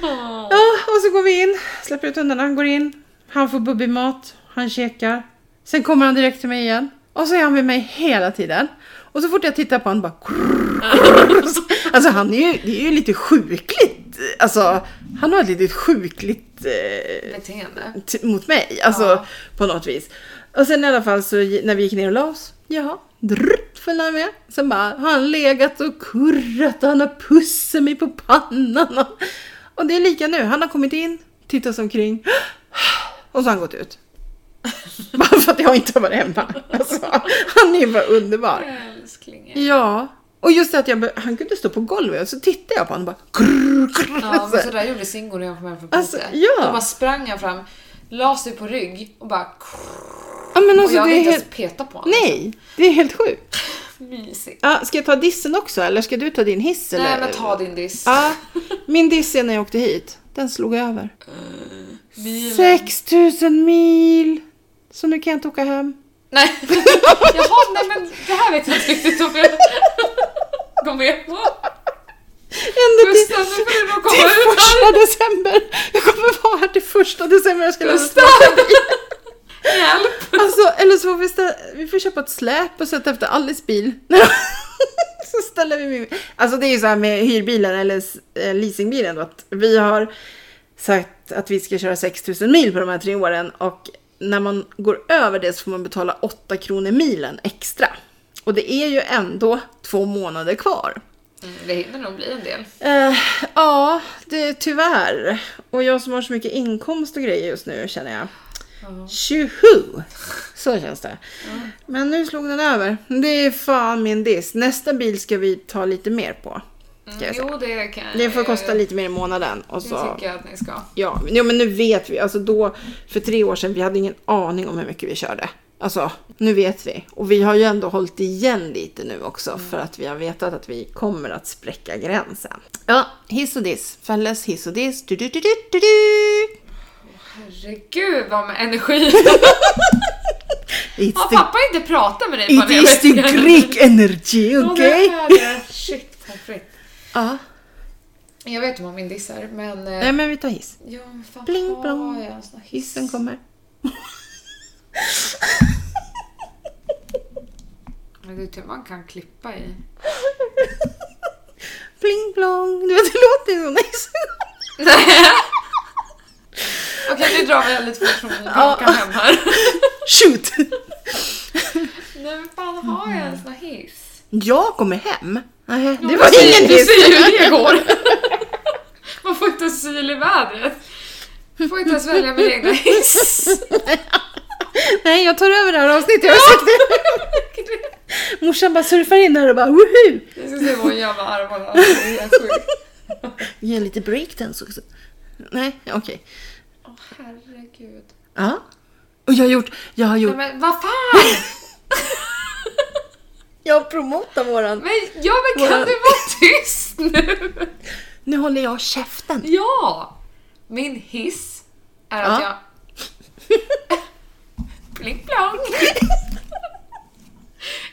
Ja, och så går vi in, släpper ut hundarna, han går in, han får bubbimat, han käkar. Sen kommer han direkt till mig igen. Och så är han med mig hela tiden. Och så fort jag tittar på honom bara... krrr, krrr. Alltså han är ju, det är ju lite sjukligt. Alltså han har ett litet sjukligt... Eh, Beteende. t- mot mig. Alltså Ja. på något vis. Och sen i alla fall så gi- när vi gick ner och la oss. Jaha. Drrrt följde han med. Sen bara har han legat och kurrat och han har pussat mig på pannan. Och, och det är lika nu. Han har kommit in, tittat sig omkring. Och så har han gått ut. Bara för att jag inte har varit hemma. Alltså, han är ju bara underbar. Älsklingen. Ja. Och just det att jag, be- han kunde stå på golvet och så tittade jag på honom och bara krrr, krrr, Ja, så men här. sådär gjorde Singo när jag kom hem från Alltså, Piteå. ja. Då bara sprang han fram, la sig på rygg och bara... ja, men och alltså, jag det hade är inte helt, ens peta på honom. nej, det är helt sjukt. Mysigt. Ja, ska jag ta dissen också eller ska du ta din hiss? Eller? eh, Nej men ta din diss. Ja, min diss är när jag åkte hit. Den slog över. Milen. 6000 mil! Så nu kan jag inte åka hem. Nej. Jaha, nej men det här vet jag inte riktigt om jag går med på. Ända till, Gustav, nu får du nog till komma ut här. första december! Jag kommer vara här till första december. Jag ska lämna- Gustav! Hjälp! Alltså, eller så får vi, stä- vi får köpa ett släp och sätta efter Alice bil. så ställer vi min... Alltså det är ju så här med hyrbilen eller s- eh, leasingbilen då, att vi har sagt att vi ska köra 6000 mil på de här tre åren och när man går över det så får man betala 8 kronor milen extra. Och det är ju ändå två månader kvar. Mm, det hinner nog bli en del. Eh, ja, det, tyvärr. Och jag som har så mycket inkomst och grejer just nu känner jag. Ja. Tjoho! Så känns det. Men nu slog den över. Det är fan min diss. Nästa bil ska vi ta lite mer på. Ska jag säga. Mm, Jo, det kan Det får kosta lite mer i månaden. Och Det så, tycker jag att ni ska. ja, men- jo, men nu vet vi. Alltså då, för tre år sedan, vi hade ingen aning om hur mycket vi körde. Alltså, nu vet vi. Och vi har ju ändå hållit igen lite nu också Mm. för att vi har vetat att vi kommer att spräcka gränsen. Ja, hiss och diss. Fälles hiss och diss. Du, du, du, du, du, du. Herregud vad med energi! It's Har the, pappa inte pratat med dig it is the Greek energy, okej? Okej? Okay. Shit, pommes frites. Ja. Jag vet inte vad min diss är, men... eh, Nej, men vi tar hiss. Ja, men fan Bling, har blong. jag en sån här hiss? Hissen kommer. Men det är tur man kan klippa i. Pling plong. Du vet, det låter ju som hissen. Okej, nu drar vi väldigt fort från klockan hem här. Shoot! Nej, men fan har jag en sån här hiss? Jag kommer hem. Nej, det Du ser- var ingen Du hiss. ser ju hur det går. Man får inte ens syl i vädret. Man får inte ens välja min egna hiss. Nej, jag tar över det här avsnittet. Jag har sagt det. Morsan bara surfar in här och bara woho! Jag ska se vad jävla armarna alltså, det är. helt sjukt. Gör lite breakdance också. Nej, okej. Åh herregud. Ja. Och jag har gjort, jag har Nej, gjort, men vad fan! jag promotar våran. Men, ja, men kan du vara tyst nu? Nu håller jag käften. Ja! Min hiss är att Ja. jag... Pling plong!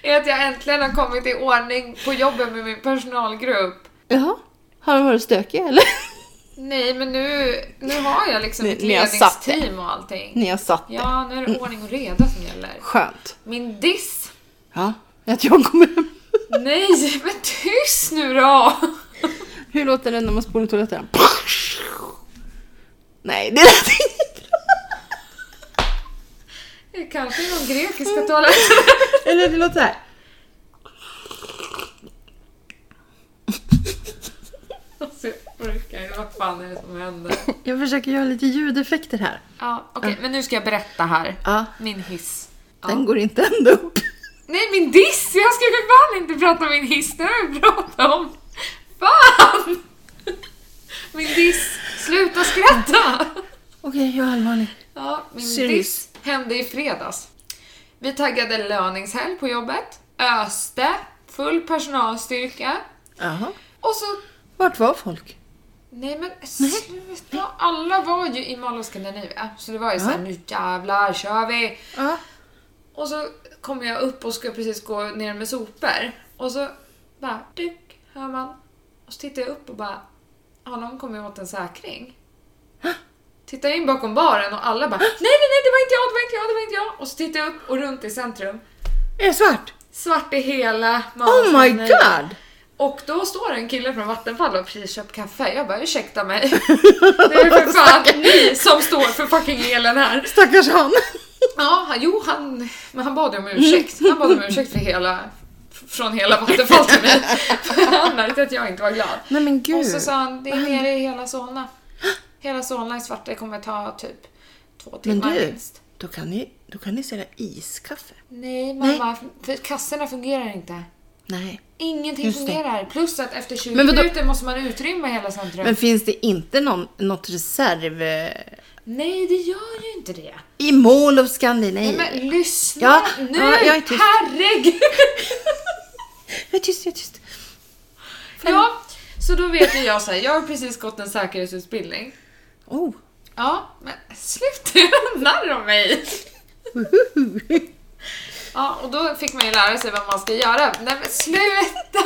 är att jag äntligen har kommit i ordning på jobbet med min personalgrupp. Jaha, har du varit stökig eller? Nej, men nu, nu har jag liksom Ni- ett ni har satt det. ledningsteam och allting. Ni har satt det. Ja, nu är det ordning och reda som gäller. Skönt. Min diss? Ja, att jag kommer hem. Nej, men tyst nu då! Hur låter det när man spolar toaletten? Nej, det lät inte bra. Det är kanske är någon grekiska toalett. Eller det låter så här. Alltså, jag orkar inte. Vad fan är det som händer? Jag försöker göra lite ljudeffekter här. Ja, okej, men nu ska jag berätta här. Ja. Min hiss. Ja. Den går inte ända upp. Nej, min diss! Jag ska för fan inte prata om min hiss, det har vi pratat om. Fan! Min diss, sluta skratta! Okej, jag är allvarlig. Ja, min Serious. diss hände i fredags. Vi taggade löningshelg på jobbet, öste, full personalstyrka Jaha. och så Vart var folk? Nej men sluta! Alla var ju i Mall of Scandinavia, så det var ju såhär nu jävlar kör vi! Ja. Och så kommer jag upp och ska precis gå ner med sopor. Och så bara dyk, hör man. Och så tittar jag upp och bara, har någon kommit åt en säkring? Tittar in bakom baren och alla bara, nej nej nej det var inte jag, det var inte jag, det var inte jag. Och så tittar jag upp och runt i centrum. Är det svart? Svart i hela Mall of Oh my Scandinavia. god! Och då står en kille från Vattenfall och har precis köpt kaffe. Jag bara ursäkta mig. Det är för fan ni som står för fucking elen här. Stackars han. Ja, han- jo han, men han bad ju om ursäkt. Han bad om Mm. ursäkt för hela, från hela Vattenfall till mig. För Han märkte att jag inte var glad. Nej men gud. Och så sa han, det är nere i hela Solna. Hela Solna i svart, det kommer ta typ två men timmar du, minst. då kan ni, då kan ni sälja iskaffe. Nej mamma, för kassorna fungerar inte. Nej. Ingenting Just det. fungerar. Plus att efter 20 Men vadå? minuter måste man utrymma hela centrum. Men finns det inte någon, något reserv eh, Nej, det gör ju inte det. i Mall of Scandinavia? Men lyssna Ja, nu! ja, jag är tyst. Herregud! Jag är tyst, jag är tyst. Ja, så då vet ju jag så här, jag har precis gått en säkerhetsutbildning. Oh. Ja, men sluta göra narr av mig! Ja, och då fick man ju lära sig vad man ska göra. Nej men sluta!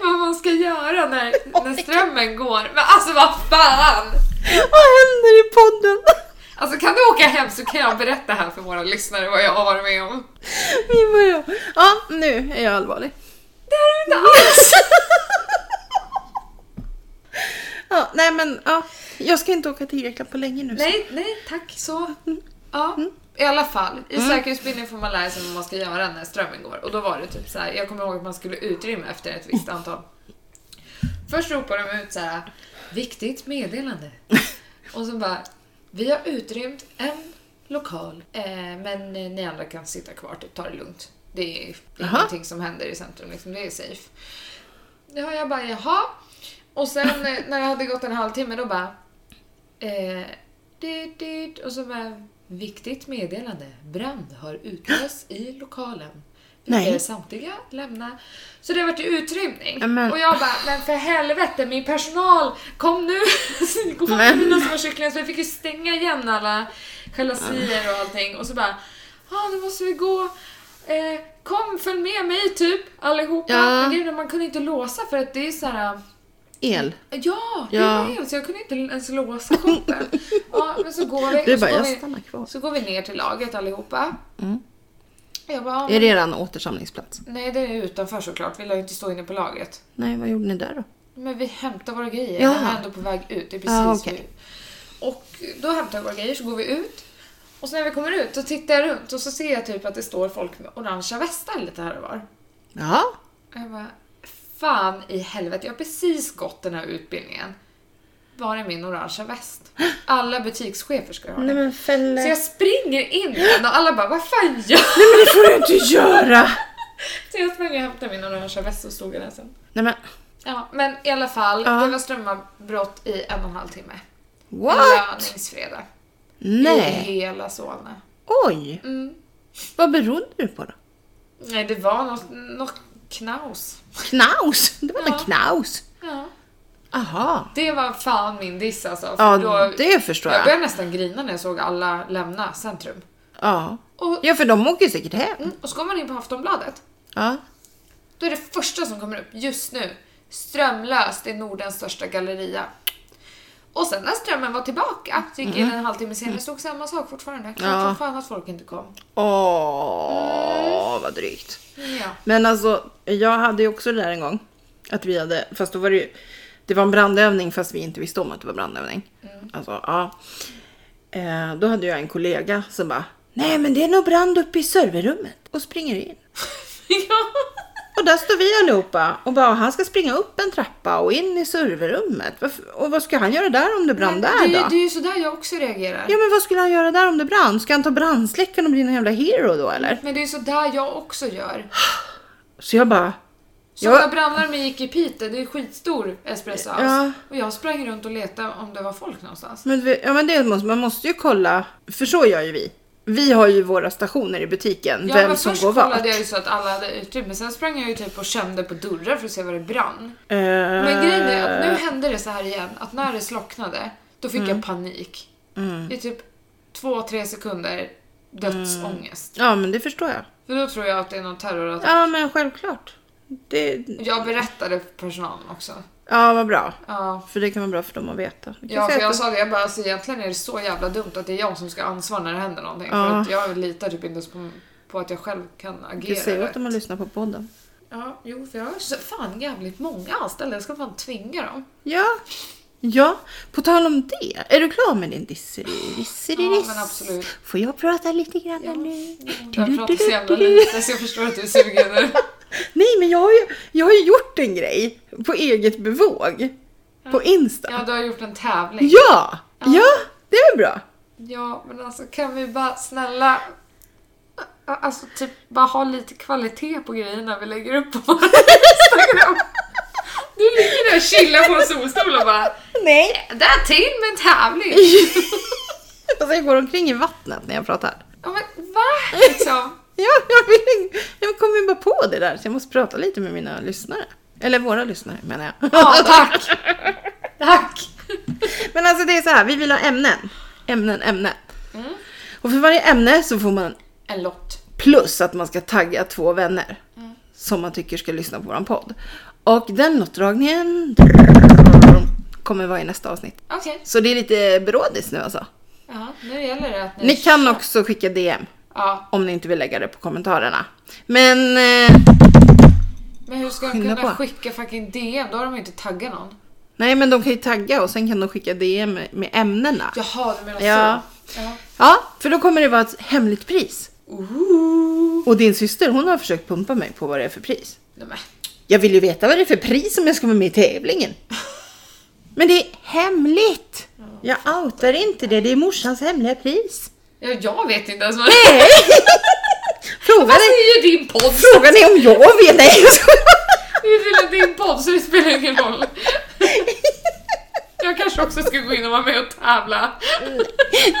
Vad man ska göra när, när strömmen går. Men alltså vad fan! Vad händer i podden? Alltså kan du åka hem så kan jag berätta här för våra lyssnare vad jag har varit med om. Vi börjar. Ja, nu är jag allvarlig. Det här är inte alls! Ja, nej men ja, jag ska inte åka till Grekland på länge nu. Nej, nej, tack Mm. så. Ja, i alla fall. I säkerhetsbildning får man lära sig vad man ska göra när strömmen går. Och då var det typ så här, jag kommer ihåg att man skulle utrymma efter ett visst antal Först ropar de ut så här, viktigt meddelande. Och så bara, vi har utrymt en lokal, eh, men ni andra kan sitta kvar, typ, ta det lugnt. Det är Jaha. ingenting som händer i centrum, liksom. det är safe. Ja, jag bara, jaha. Och sen eh, när det hade gått en halvtimme, då bara, eh, dit, dit, och så bara, viktigt meddelande, brand har utlösts i lokalen. Vi Nej. ber samtliga lämna. Så det vart ju utrymning. Men- Och jag bara, men för helvete min personal, kom nu! Gå fram Men- till mina små kycklingar. Så vi fick ju stänga igen alla jalousier och allting. Och så bara, ja ah, nu måste vi gå. Eh, kom, följ med mig typ allihopa. Ja. Men grejen är, man kunde inte låsa för att det är så här. El. Ja, det Ja. var det. Så jag kunde inte ens låsa shoppen. ja, men så går vi. Du och så bara, går jag vi- stannar kvar. Så går vi ner till laget allihopa. Mm. Jag bara, ah, Är men, det eran återsamlingsplats? nej det är utanför såklart. Vi lär ju inte stå inne på laget. Nej, vad gjorde ni där då? Men vi hämtar våra grejer. Ja. Jag är ändå på väg ut. Det är precis Ja, okej. vi- Och då hämtar vi våra grejer så går vi ut. Och så när vi kommer ut så tittar jag runt och så ser jag typ att det står folk med orangea västar lite här och var. Ja. Och jag bara, fan i helvete, jag har precis gått den här utbildningen. Var är min orangea väst? Alla butikschefer ska ju ha den. men fäller. Så jag springer in i den och alla bara, vad fan gör du? Nej men det får du inte göra! Så jag sprang och hämtade min orangea väst och stod i den sen. Nej men Ja, men i alla fall, Ja. det var strömavbrott i en och en halv timme. what? Löningsfredag. Nej. I hela Solna. Oj! Mm. Vad berodde det på då? Nej, det var något, något knaus. Knaus! Det var en Ja. knaus! Ja. Aha. Det var fan min diss alltså. För Ja, då, det förstår jag jag. började nästan grina när jag såg alla lämna centrum. Ja. Och, ja, för de åker ju säkert hem. mm, och så går man in på Aftonbladet. Ja. Då är det första som kommer upp just nu. Strömlöst i Nordens största galleria. Och sen när strömmen var tillbaka, så gick jag in en halvtimme senare, stod samma sak fortfarande. Klart Mm-hmm. Mm. Ja. som fan att folk inte kom. Åh, vad drygt. Ja. Men alltså, jag hade ju också det där en gång. Att vi hade, fast då var det ju, det var en brandövning fast vi inte visste om att det var brandövning. Mm. Alltså, ja. Eh, då hade jag en kollega som bara, nej men det är nog brand uppe i serverrummet. Och springer in. ja. Och där står vi allihopa och bara, han ska springa upp en trappa och in i serverrummet. Varför- Och vad ska han göra där om det brann där det, då? är- det är ju sådär jag också reagerar. Ja men vad skulle han göra där om det brann? Ska han ta brandsläckaren och bli någon jävla hero då eller? Men det är sådär jag också gör. Så jag bara, Som när jag, brandlarmen gick i Piteå, det är skitstor espressohouse. Ja. Och jag sprang runt och letade om det var folk någonstans. men, vi- ja, men det måste, man måste ju kolla, för så gör ju vi. Vi har ju våra stationer i butiken, Ja, vem men som först går vart. kollade jag ju så att alla hade utrymme, sen sprang jag ju typ och kände på dörrar för att se var det brann. Eh, Men grejen är att nu hände det så här igen, att när det slocknade, då fick Mm. jag panik. I typ två, tre sekunder dödsångest. Ja men det förstår jag. För då tror jag att det är någon terrorattack. Ja men självklart. Det, Jag berättade för personalen också. ja vad bra. Ja, För det kan vara bra för dem att veta. Du kan Ja, säga för jag att- sa det, jag bara, alltså, egentligen är det så jävla dumt att det är jag som ska ansvara när det händer någonting. För Ja. att jag litar typ inte ens på, på att jag själv kan du kan agera. säga åt rätt. dem att lyssna på podden. Ja, jo, för jag har så fan jävligt många anställda. Jag ska fan tvinga dem. Ja. Ja, på tal om det. Är du klar med din disseri? disseri Ja, diss? men absolut. Får jag prata lite grann nu? Jag pratar så jävla lite så jag förstår att Mm. du är sugen nu. Nej, men jag har, ju, jag har ju gjort en grej på eget bevåg. På Insta. Ja, Ja! du har gjort en tävling. Ja, det är bra. Ja, men alltså kan vi bara snälla... Alltså typ bara ha lite kvalitet på grejerna vi lägger upp på vår Instagram. Du ligger där och chillar på en solstol och bara Nej. Där till med en tävling! alltså, jag går omkring i vattnet när jag pratar. Ja men va? Liksom. Ja, jag, vill, jag kommer ju bara på det där, så jag måste prata lite med mina lyssnare. Eller våra lyssnare menar jag. Ja tack! Tack! Men alltså det är så här, vi vill ha ämnen. Ämnen, ämnen. Mm. Och för varje ämne så får man En lott. plus att man ska tagga två vänner. Som man tycker ska lyssna på våran podd. Och den lottdragningen kommer vara i nästa avsnitt. Okej. Så det är lite brådis nu alltså. Ja, nu gäller det att ni... Ni kan också skicka DM Ja, om ni inte vill lägga det på kommentarerna. Men eh, men hur ska de Skynda kunna på. skicka fucking DM? Då har de ju inte taggat någon. nej, men de kan ju tagga och sen kan de skicka DM med ämnena. Jaha, du menar Ja. så? Ja. Ja, för då kommer det vara ett hemligt pris. Ooh. Och din syster hon har försökt pumpa mig på vad det är för pris. Nej men. Jag vill ju veta vad det är för pris om jag ska vara med i tävlingen. Men det är hemligt. Jag outar inte det. Det är morsans hemliga pris. Ja, jag vet inte ens vad Nej! Frågan Vad är, säger din podd? frågan är om jag vet. Nej, jag skojar. Det är till din podd så det spelar ingen roll. Jag kanske också ska gå in och vara med och tävla.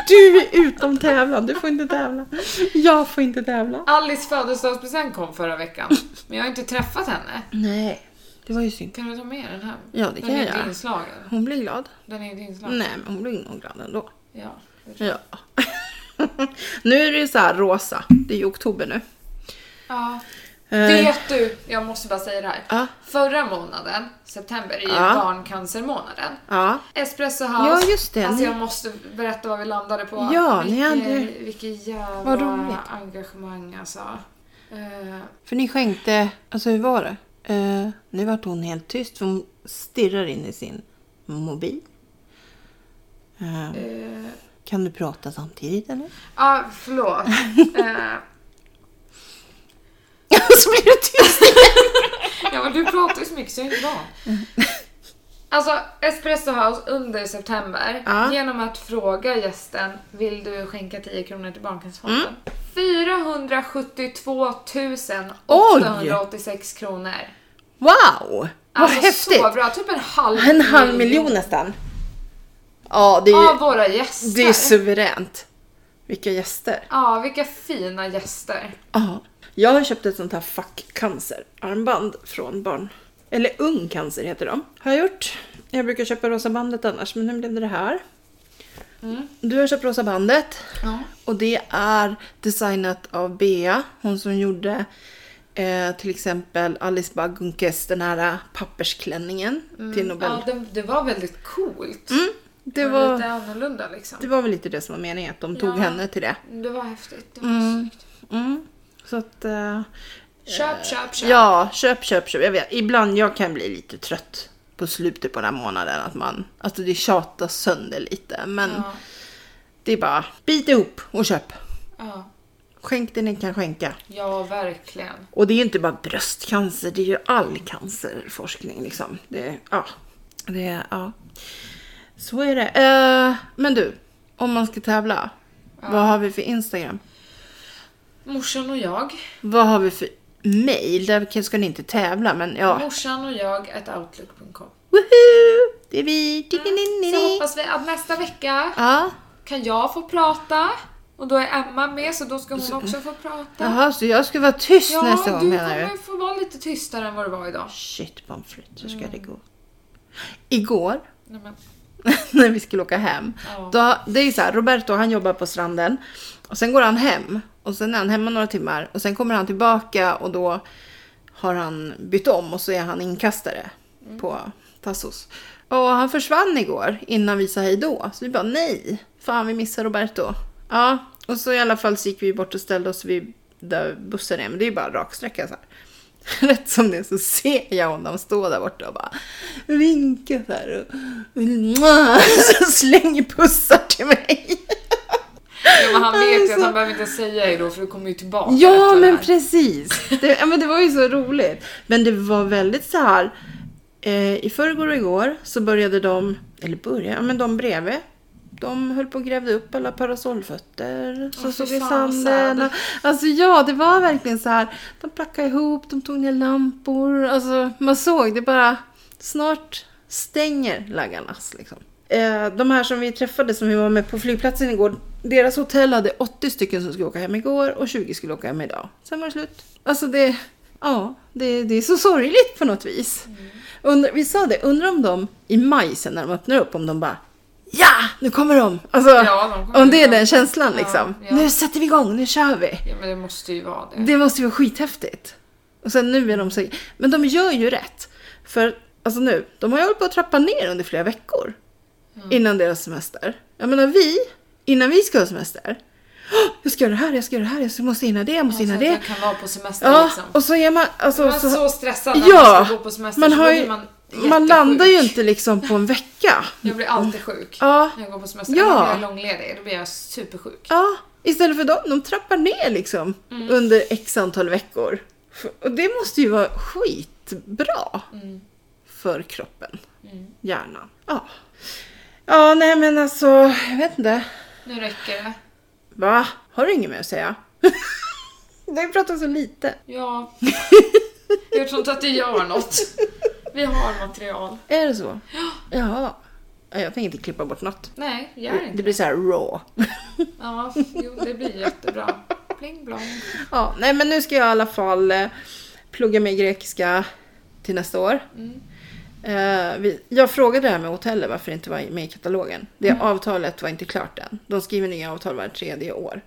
Du är utom tävlan. Du får inte tävla. Jag får inte tävla. Alice födelsedagspresent kom förra veckan, men jag har inte träffat henne. Nej, det var ju synd. Kan du ta med den hem? Ja, det kan den jag är inte göra. Mm. inslagen. Hon blir glad. Den är inte inslagen. Nej, men hon blir nog glad ändå. Ja. Ja. nu är det ju så här rosa. Det är ju oktober nu. ja. Eh, Vet du, jag måste bara säga det här. Ja. Förra månaden, september, är ju Ja. barncancermånaden. Ja. Espresso Ja, House. just det. Alltså Ni- jag måste berätta vad vi landade på. Ja, ni vilket, hade- vilket jävla Vad roligt. engagemang alltså. Eh, För ni skänkte, alltså hur var det? Eh, nu vart hon helt tyst för hon stirrar in i sin mobil. Eh, eh, kan du prata samtidigt eller? Ja, förlåt. Eh, så blir du tyst! ja, men du pratar ju så mycket så jag är inte van. Alltså, Espresso House under september Ja. genom att fråga gästen vill du skänka 10 kronor till Barncancerfonden? Mm. 472 886 kronor. Wow! Vad Alltså häftigt! så bra, typ en halv En halv miljon nästan. Ja, det är, av ju, våra gäster. det är suveränt. Vilka gäster. Ja, vilka fina gäster. Ja. Jag har köpt ett sånt här fuck cancer armband från barn. Eller ung cancer heter de. Har jag gjort. Jag brukar köpa rosa bandet annars men nu blev det det här. Du har köpt rosa bandet. Mm. Ja. Och det är designat av Bea. Hon som gjorde eh, till exempel Alice Bagunkes den här pappersklänningen till Nobel. Mm. Ja, det, det var väldigt coolt. Mm, det, Men var, Lite annorlunda liksom. det var väl lite det som var meningen att de tog Ja. henne till det. Det var häftigt. Det var snyggt. Mm. Så att... Eh, Köp, köp, köp. Ja, köp, köp, köp. Jag vet, ibland jag kan bli lite trött på slutet på den här månaden. Att man, alltså det tjatas sönder lite. Men Ja, det är bara, bit ihop och köp. ja. Skänk det ni kan skänka. Ja, verkligen. Och det är ju inte bara bröstcancer, det är ju all cancerforskning liksom. Det, ja. Det, är- ja. Så är det. Eh, men du, om man ska tävla. Vad har vi för Instagram? Morsan och jag. Vad har vi för mail? Där ska ni inte tävla, men ja. Morsan och jag at outlook.com. Woohoo! Det är vi! Så Tiki-ni-ni-ni. hoppas vi att nästa vecka Ja, kan jag få prata. Och då är Emma med så då ska hon också få prata. jaha, så jag ska vara tyst Ja, nästa gång du menar du? kommer få vara lite tystare än vad du var idag. Shit pommes frites, hur ska det gå? Igår, Nej, men, när vi skulle åka hem, Ja. då, det är ju så här, Roberto han jobbar på stranden och sen går han hem och sen är han hemma några timmar och sen kommer han tillbaka och då har han bytt om och så är han inkastare på Tassos. Och han försvann igår innan vi sa hej då. Så vi bara nej, fan vi missar Roberto. Ja, och så i alla fall så gick vi bort och ställde oss vid där bussen är, men det är ju bara raksträcka så här. Rätt som det är så ser jag honom stå där borta och bara vinka så här och, och så slänger pussar till mig. ja, men han vet ju att Alltså. han behöver inte säga hej då för du kommer ju tillbaka. Ja, efter det men här. precis. Det, ja, men det var ju så roligt. Men det var väldigt så här. Eh, I förrgår och igår så började de, eller började, ja, men de bredvid. De höll på och grävde upp alla parasollfötter som Åh, fy stod i fan, sanden. sad. Alltså ja, det var verkligen så här. De plackade ihop, de tog ner lampor. Alltså man såg, det bara snart stänger laggarnas liksom. Eh, de här som vi träffade som vi var med på flygplatsen igår. Deras hotell hade 80 stycken som skulle åka hem igår och 20 skulle åka hem idag. Sen var det slut. Alltså det, ja, det, det är så sorgligt på något vis. Undra, vi sa det, undrar om de i maj sen när de öppnar upp om de bara Ja, nu kommer de! Alltså, Ja, de kommer om det är göra. den känslan Ja, liksom. ja. Nu sätter vi igång, nu kör vi! Ja, men det måste ju vara det. Det måste ju vara skithäftigt. Och sen nu är de så... Men de gör ju rätt. För alltså nu, de har ju hållit på att trappa ner under flera veckor. Mm. Innan deras semester. Jag menar vi, innan vi ska ha semester. "Åh, Jag ska göra det här, jag ska göra det här, jag måste hinna det, jag måste Ja, så hinna Alltså, att det. jag kan vara på semester Ja, liksom. och så är man... Alltså, Man är så stressad när man ska gå på semester man, så har blir ju, man man, jättesjuk. landar ju inte liksom på en vecka. Jag blir alltid sjuk Ja. när jag går på semester. Ja. Ja. När jag är långledig då blir jag supersjuk. Mm. Ja, istället för dem, de trappar ner liksom under x antal veckor. För- Och det måste ju vara skitbra Mm. för kroppen, Mm. hjärnan. Ja. Ja, nej men alltså, jag vet inte. Nu räcker det. Va? Har du inget mer att säga? Du pratar så lite. Ja. Jag tror inte att det gör något. Vi har material. Är det så? Ja. Jaha. Ja, Jag tänker inte klippa bort något. Nej, gör Det inte blir så här raw. Ja, jo, det blir jättebra. Bling blong. Ja, nej men nu ska jag i alla fall eh, plugga mig grekiska till nästa år. Mm. Eh, vi, jag frågade det här med hotellet varför det inte var med i katalogen. Det avtalet var inte klart än. De skriver nya avtal var tredje år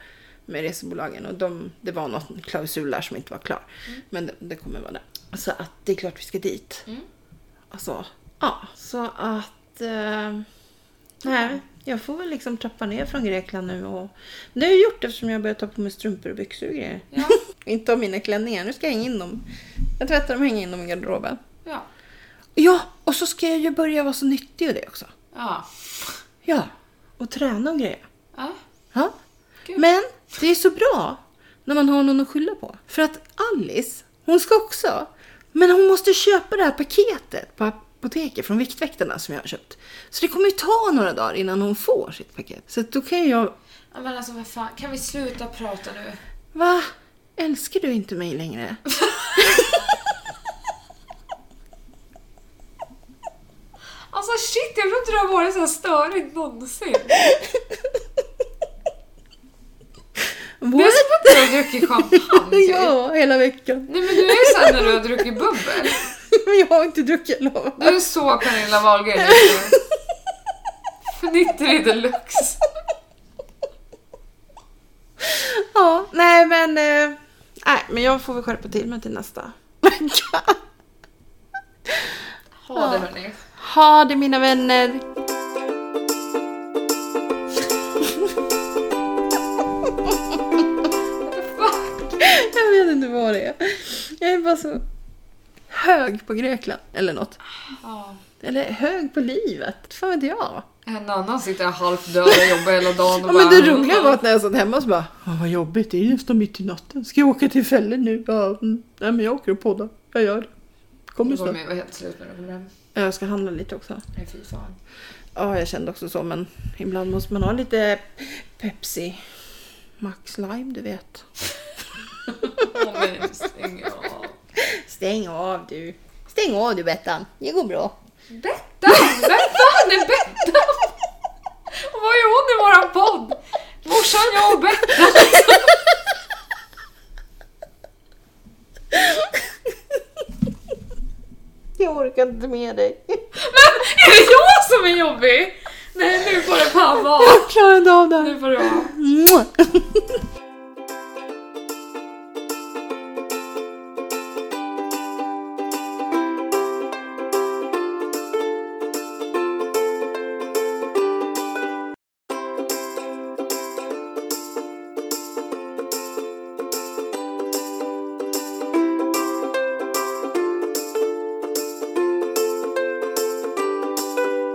med resebolagen och de, det var någon klausul där som inte var klar. Men det, det kommer vara det. Så att det är klart vi ska dit. Mm. Alltså, ja. Så att... Eh, nej, jag får väl liksom trappa ner från Grekland nu och... Men Det har jag gjort eftersom jag börjat ta på mig strumpor och byxor och grejer. Ja, Inte av mina klänningar, nu ska jag hänga in dem. Jag tvättar dem och hänger in dem i garderoben. ja, Ja, och så ska jag ju börja vara så nyttig och det också. ja. Ja, och träna och grejer. ja. Ja. Kul. Men det är så bra när man har någon att skylla på. För att Alice, hon ska också. Men hon måste köpa det här paketet på apoteket från Viktväktarna som jag har köpt. Så det kommer ju ta några dagar innan hon får sitt paket. Så att då kan jag... Ja, Men alltså vad fan, kan vi sluta prata nu? Va? Älskar du inte mig längre? Alltså shit, jag tror inte det har varit så här störigt någonsin. Du What? har suttit och druckit champagne. typ. Ja, hela veckan. Nej men du är ju såhär när du har druckit bubbel. Men jag har inte druckit, jag lovar. Du är så Pernilla Wahlgren just nu. Fnittrig deluxe. Ja, nej men... Eh, nej, men jag får väl skärpa till mig till nästa vecka. Ha det hörni. Ha det mina vänner! Jag vet inte vad det är. Jag är bara så hög på Grekland eller något. Ja. Eller hög på livet. Fan vet jag. En annan sitter halvt död och jobbar hela dagen och Ja, men det bara- roliga var att när jag satt hemma så bara "Åh, Vad jobbigt, det är ju nästan mitt i natten. Ska jag åka till Fälle nu? Ja, mm. Nej men jag åker och poddar. Jag gör det. Kommer Du kommer snart. ju vara helt slut när du kommer hem. Jag ska handla lite också. Nej fy fan. Ja, jag kände också så, men ibland måste man ha lite Pepsi Max Lime, du vet. Åh, men jag stänger av. Stäng av du. Stäng av du Bettan, det går bra. Bettan! Vem fan är Bettan? Och Vad är hon i våran podd? Morsan, jag och Bettan. Jag orkar inte med dig. Men är det jag som är jobbig? Nej, nu får det fan vara. Jag klarar inte av det här. Nu får det vara. Mua.